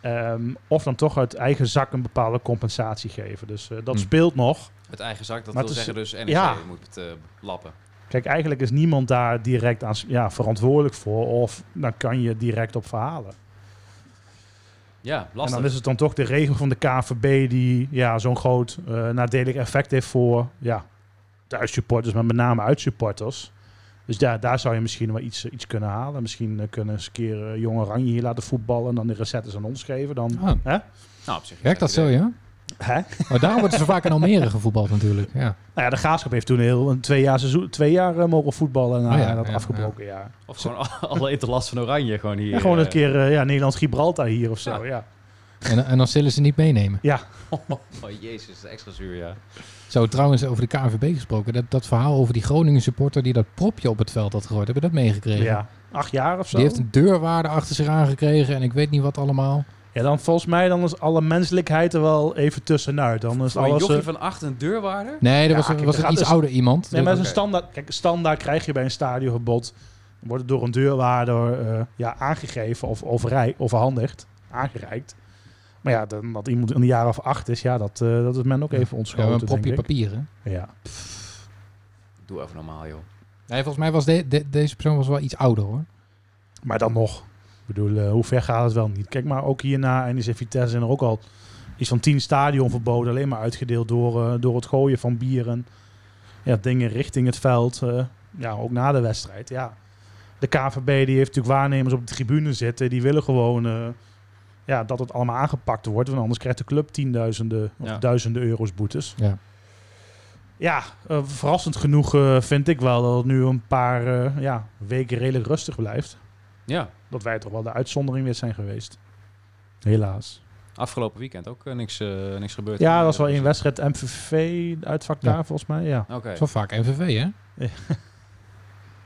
Ehm, of dan toch uit eigen zak een bepaalde compensatie geven. Dus eh, dat Hm. speelt nog. Het eigen zak, dat Maar wil het zeggen is- dus NEC ja. moet het eh, lappen. Kijk, eigenlijk is niemand daar direct aan, ja, verantwoordelijk voor. Of dan kan je direct op verhalen. Ja, En lastig. dan is het dan toch de regel van de KVB die ja, zo'n groot eh, nadelig effect heeft voor ja, thuissupporters, maar met name uitsupporters. Dus daar, daar zou je misschien wel iets, eh, iets kunnen halen. Misschien eh, kunnen ze een keer jonge Jong Oranje hier laten voetballen en dan de recettes aan ons geven. Dan, Ah, Nou, op zich is werkt dat het zo, idee. ja? hè? Nou Maar daarom wordt er zo vaak in Almere gevoetbald natuurlijk. Ja. ja, de Graafschap heeft toen een heel, een twee jaar, seizoen, twee jaar eh, mogen voetballen na Oh ja, dat ja, afgebroken jaar. Of gewoon al- alle etalast van Oranje gewoon hier. Ja, gewoon eh, een keer eh, ja, Nederland-Gibraltar hier of zo. Ja. ja. En, en dan zullen ze niet meenemen. Oh jezus, dat is extra zuur, ja. Zo, trouwens, over de KNVB gesproken. Dat, dat verhaal over die Groningen supporter die dat propje op het veld had gegooid. Hebben we dat meegekregen? Ja, acht jaar of zo. Die heeft een deurwaarde achter zich aangekregen en ik weet niet wat allemaal. Ja, dan volgens mij dan is alle menselijkheid er wel even tussenuit. Dan is Voor een alles... jochie eh, van acht een deurwaarder? Nee, dat Ja, was, kijk, was er een gaat iets dus- ouder iemand. Nee, maar het Dat- is een standaard... Kijk, standaard krijg je bij een stadionverbod... Wordt het door een deurwaarder eh, ja, aangegeven of overrij, overhandigd, aangereikt. Maar ja, dan, dat iemand een jaar of acht is, ja, dat, eh, dat is men ook even Ja, maar ontschoten, een propje denk ik. papier, hè? Ja. Doe even normaal, joh. Nee, volgens mij was de- de- deze persoon was wel iets ouder, hoor. Maar dan nog. Ik bedoel, eh, hoe ver gaat het wel niet? Kijk maar, ook hierna en is Vitesse zijn er ook al iets van tien stadionverboden. Alleen maar uitgedeeld door, eh, door het gooien van bieren. Ja, dingen richting het veld. eh, ja, ook na de wedstrijd. Ja. De KVB die heeft natuurlijk waarnemers op de tribune zitten. Die willen gewoon eh, ja, dat het allemaal aangepakt wordt. Want anders krijgt de club tienduizenden of Ja. duizenden euro's boetes. Ja. Ja, eh, verrassend genoeg eh, vind ik wel dat het nu een paar eh, ja, weken redelijk rustig blijft Ja, dat wij toch wel de uitzondering weer zijn geweest. Helaas. afgelopen weekend ook eh, niks, eh, niks gebeurd. Ja, dat is wel één wedstrijd. MVV, de uitvak daar Ja. volgens mij. Ja. Oké, Dat is wel vaak MVV, hè?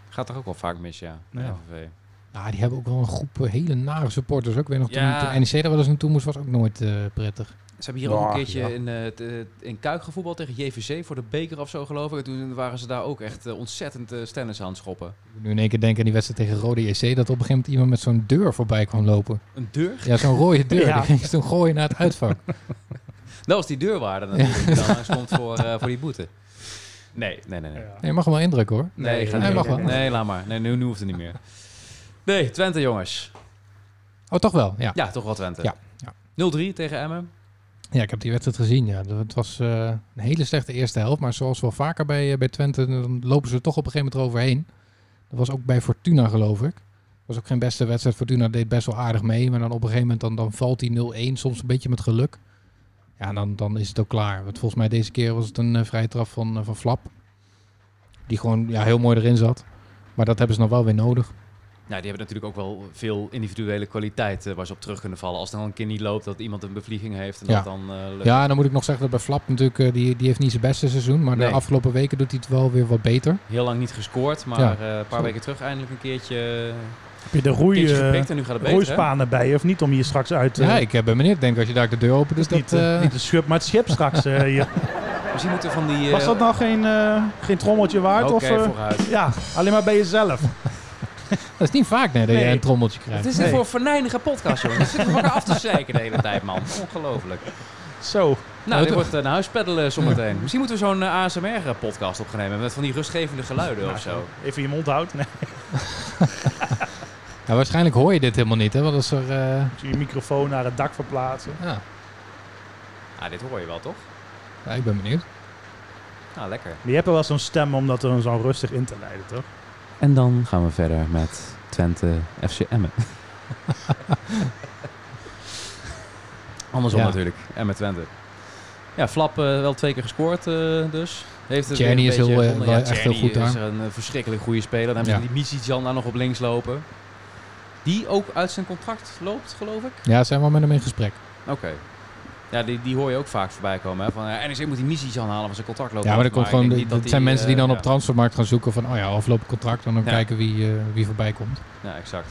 gaat toch ook wel vaak mis, ja. Ja. NVV. Ja, Nou, die hebben ook wel een groep eh, hele nare supporters. Ook weer nog Ja. toen, toen NEC daar wel eens naartoe moest, was ook nooit eh, prettig. Ze hebben hier ook een Ja, keertje ja. in, eh, t- eh, in Kuik gevoetbald tegen JVC voor de beker of zo, geloof ik. En toen waren ze daar ook echt eh, ontzettend eh stennis aan het schoppen. Ik moet nu in één keer denken aan die wedstrijd tegen Rode JC, dat op een gegeven moment iemand met zo'n deur voorbij kwam lopen. Een deur? Ja, zo'n rode deur. Ja. Die ging ze toen gooien naar het uitvak. Dat was die deurwaarde natuurlijk die dan langs komt voor, eh, voor die boete. Nee, nee, nee. nee. Nee, Ja. je mag hem wel indrukken hoor. Nee, ik ga nee, niet. mag wel. Nee, laat maar. Nee, nu, nu hoeft het niet meer. Nee, Twente jongens. Oh, toch wel? Ja. Ja, toch wel Twente. Ja, ja. 0-3 tegen Emmen. Ja, ik heb die wedstrijd gezien. Ja. Dat- Het was eh, een hele slechte eerste helft. Maar zoals wel vaker bij, eh, bij Twente, dan lopen ze er toch op een gegeven moment overheen. Dat was ook bij Fortuna, geloof ik. was ook geen beste wedstrijd. Fortuna deed best wel aardig mee. Maar dan op een gegeven moment dan, dan valt die 0-1. Soms een beetje met geluk. Ja, en dan, dan is het ook klaar. Want volgens mij deze keer was het een eh, vrije trap van, eh, van Flap. Die gewoon ja, heel mooi erin zat. Maar dat hebben ze nog wel weer nodig. Nou, die hebben natuurlijk ook wel veel individuele kwaliteit eh, waar ze op terug kunnen vallen. Als het dan een keer niet loopt, dat iemand een bevlieging heeft en Ja. dat dan eh, lukt. Ja, en dan moet ik nog zeggen dat bij Flap natuurlijk, eh, die, die heeft niet zijn beste seizoen. Maar Nee. de afgelopen weken doet hij het wel weer wat beter. Heel lang niet gescoord, maar Ja. eh, een paar weken terug eindelijk een keertje, Heb je de keertje roei, geprikt eh, en nu gaat het beter. hè? roeispanen bij je of niet om hier straks uit te... Ja, ik ben benieuwd. Ik denk als je daar de deur opent, is dat... Dus niet, eh, eh, niet de schub, maar het schip straks. eh, hier. Misschien moeten we van die... eh, Was dat nou geen, eh, geen trommeltje waard? Oké, of, eh, vooruit. ja, alleen maar bij jezelf. dat is niet vaak nee, dat je Nee. een trommeltje Het krijgt. is dit voor een venijnige podcast, jongen. Dan zitten we elkaar af te zeiken de hele tijd, man. Ongelooflijk. Zo. Nou, dit toch? wordt eh, naar huis peddelen zometeen. Misschien moeten we zo'n eh, ASMR-podcast op gaan nemen met van die rustgevende geluiden Nou of zo. Even je mond houdt. Nee, Ja, waarschijnlijk hoor je dit helemaal niet, hè? Want als er... eh, moet je je microfoon naar het dak verplaatsen. ja. Ah, dit hoor je wel, toch? Ja, ik ben benieuwd. Nou, lekker. Maar je hebt er wel zo'n stem om dat er zo rustig in te leiden, toch? En dan gaan we verder met Twente FC Emmen. Andersom Ja. natuurlijk, Emmen Twente. Ja, Flap eh, wel twee keer gescoord eh, dus. Heeft het weer Tierney een is heel, beetje eh, onder- wel ja, echt heel Tierney goed is daar. een eh, verschrikkelijk goede speler. Dan hebben ze Ja. die Misicjan daar nog op links lopen. Die ook uit zijn contract loopt, geloof ik. Ja, zijn we met hem in gesprek. Oké. Ja, die, die hoor je ook vaak voorbij komen. Hè? Van, eh, NEC moet die missies aanhalen van zijn contract lopen. Ja, maar af. dat komt ik gewoon... denk de- niet dat die, zijn mensen die eh, dan op ja. transfermarkt gaan zoeken van... Oh ja, aflopend contract. En dan Ja. kijken wie, eh, wie voorbij komt. Ja, exact.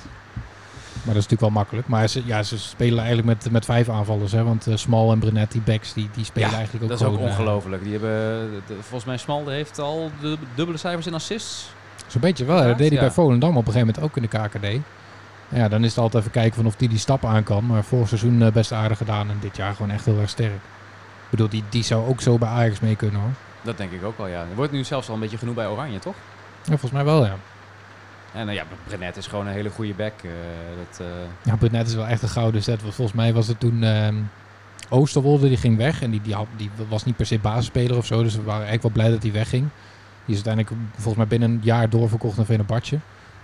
Maar dat is natuurlijk wel makkelijk. Maar ze, ja, ze spelen eigenlijk met, met vijf aanvallers, hè? Want eh, Small en Brenet, die backs, die, die spelen Ja, eigenlijk ook Dat is ook gewoon... eh, ongelooflijk. Die hebben, eh, de- volgens mij Smalde heeft al de dubbele cijfers in assists. Zo'n beetje wel. hè. Dat deed hij Ja. bij Volendam op een gegeven moment ook in de KKD. Ja, dan is het altijd even kijken van of die die stap aan kan. Maar vorig seizoen eh, best aardig gedaan en dit jaar gewoon echt heel erg sterk. Ik bedoel, die, die zou ook zo bij Ajax mee kunnen hoor. Dat denk ik ook wel, ja. Er wordt nu zelfs al een beetje genoeg bij Oranje, toch? Ja, volgens mij wel ja. En eh, ja, Brenet is gewoon een hele goede back. eh, dat, eh, Ja, Brunet is wel echt een gouden set. Want volgens mij was het toen ehm, Oosterwolde, die ging weg. En die, die, had, die was niet per se basisspeler of zo. Dus we waren eigenlijk wel blij dat hij wegging. Die is uiteindelijk volgens mij binnen een jaar doorverkocht naar Venabartje.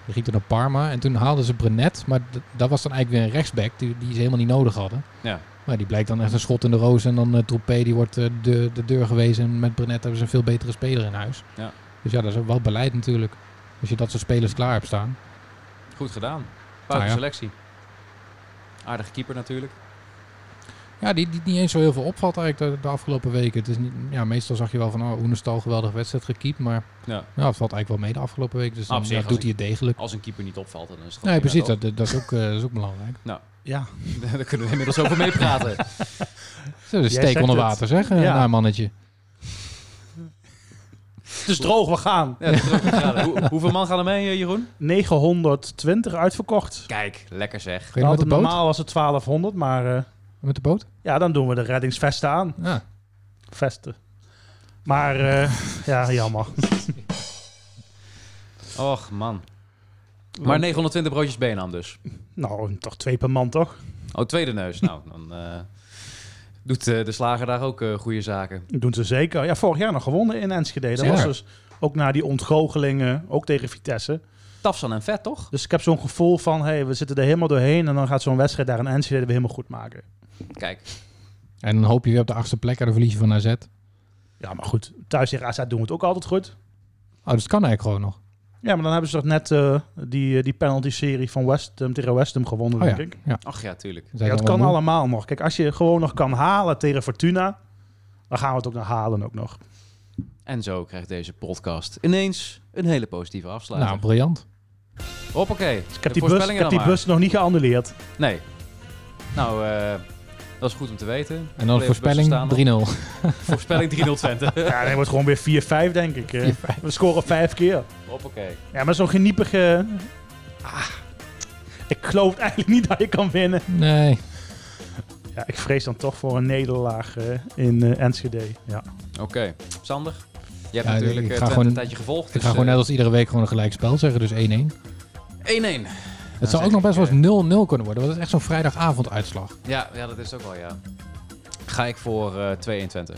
Die ging toen naar Parma. En toen haalden ze Brunet. Maar d- dat was dan eigenlijk weer een rechtsback die, die ze helemaal niet nodig hadden. Ja. Maar die blijkt dan echt een schot in de roos. En dan eh Troepé, die wordt eh, de, de deur gewezen. En met Brunet hebben ze een veel betere speler in huis. Ja. Dus ja, dat is ook wel beleid natuurlijk. Als je dat soort spelers klaar hebt staan. goed gedaan. Nou Buiten ja. selectie. Aardige keeper natuurlijk. Ja, die, die niet eens zo heel veel opvalt eigenlijk de, de afgelopen weken. Het is niet, ja, meestal zag je wel van, oh, Oenestal, geweldige wedstrijd gekiept. Maar Ja. nou, het valt eigenlijk wel mee de afgelopen weken. Dus Nou, dan op zich, ja, als doet ik- hij het degelijk. Als een keeper niet opvalt, dan is het gewoon Nee, prima, precies. Dat, dat, is ook, eh, dat is ook belangrijk. Ja. toch? Daar kunnen we inmiddels over mee praten. Zo, dus Jij steek zegt onder het. water, zeg, eh, Ja. naar mannetje. Het is droog, we gaan. Ja, dat is ook een graad. Hoe- hoeveel man gaan er mee, eh, Jeroen? 920 uitverkocht. Kijk, lekker zeg. Ga je nog met de Altijd boot? Nou, normaal was het 1200, maar eh, Met de boot? ja, dan doen we de reddingsvesten aan. Ja. Vesten. Maar eh, ja, jammer. Och man. Maar 920 broodjes beenham dus. Nou, toch twee per man, toch? Oh, tweede neus. Nou, dan eh, doet eh, de slager daar ook eh, goede zaken. Doen ze zeker. Ja, vorig jaar nog gewonnen in Enschede. Dat Zeker. was dus ook na die ontgoochelingen, ook tegen Vitesse. Tafsan en vet, toch? Dus ik heb zo'n gevoel van, hey, we zitten er helemaal doorheen en dan gaat zo'n wedstrijd daar in Enschede weer helemaal goed maken. Kijk, En dan hoop je weer op de achtste plek aan de verliezen van AZ. Oh, Ja, maar goed, thuis tegen AZ doen we het ook altijd goed. dus het kan eigenlijk gewoon nog. Ja, maar dan hebben ze toch net eh, die, eh, die penalty-serie van West Ham tegen West Ham gewonnen, Oh ja. denk ik. ja. ach ja, tuurlijk. Zijn ze Ja, dat allemaal kan moe? allemaal nog. Kijk, als je gewoon nog kan halen tegen Fortuna, dan gaan we het ook nog halen ook nog. En zo krijgt deze podcast ineens een hele positieve afsluiting. Nou, briljant. Hoppakee. ik heb die bus, ik heb die bus nog niet geannuleerd. Nee. Nou, eh, dat is goed om te weten. En dan Bleef best voorspelling staan. 3-0. Voorspelling 3-0 Twente. Ja, dan wordt gewoon weer 4-5, denk ik. eh. We scoren vijf keer. Hoppakee. Ja, maar zo'n geniepige... Ah, ik geloof eigenlijk niet dat je kan winnen. Nee. Ja, ik vrees dan toch voor een nederlaag eh, in eh, Enschede. Ja. Oké. Sander, je hebt Ja, natuurlijk eh, ik ga Twente gewoon- een tijdje gevolgd. eh, Ik ga gewoon net als iedere week gewoon een gelijk spel zeggen, dus 1-1. net 1-1. het zou ook nog best wel eens 0-0 kunnen worden, want het is echt zo'n vrijdagavond uitslag. Ja, ja, dat is het ook wel, ja. Ga ik voor eh 2-1 Twente.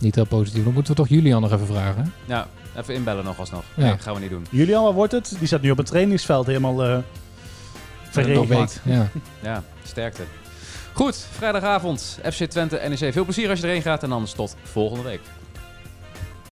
Niet heel positief. Dan moeten we toch Julian nog even vragen. hè? Ja, even inbellen nog alsnog. Ja. Nee, gaan we niet doen. Julian, wat wordt het? Die zat nu op het trainingsveld helemaal eh verregend. Ja. Ja, sterkte. E Goed, vrijdagavond FC Twente NEC. Veel plezier als je erheen gaat en anders tot volgende week.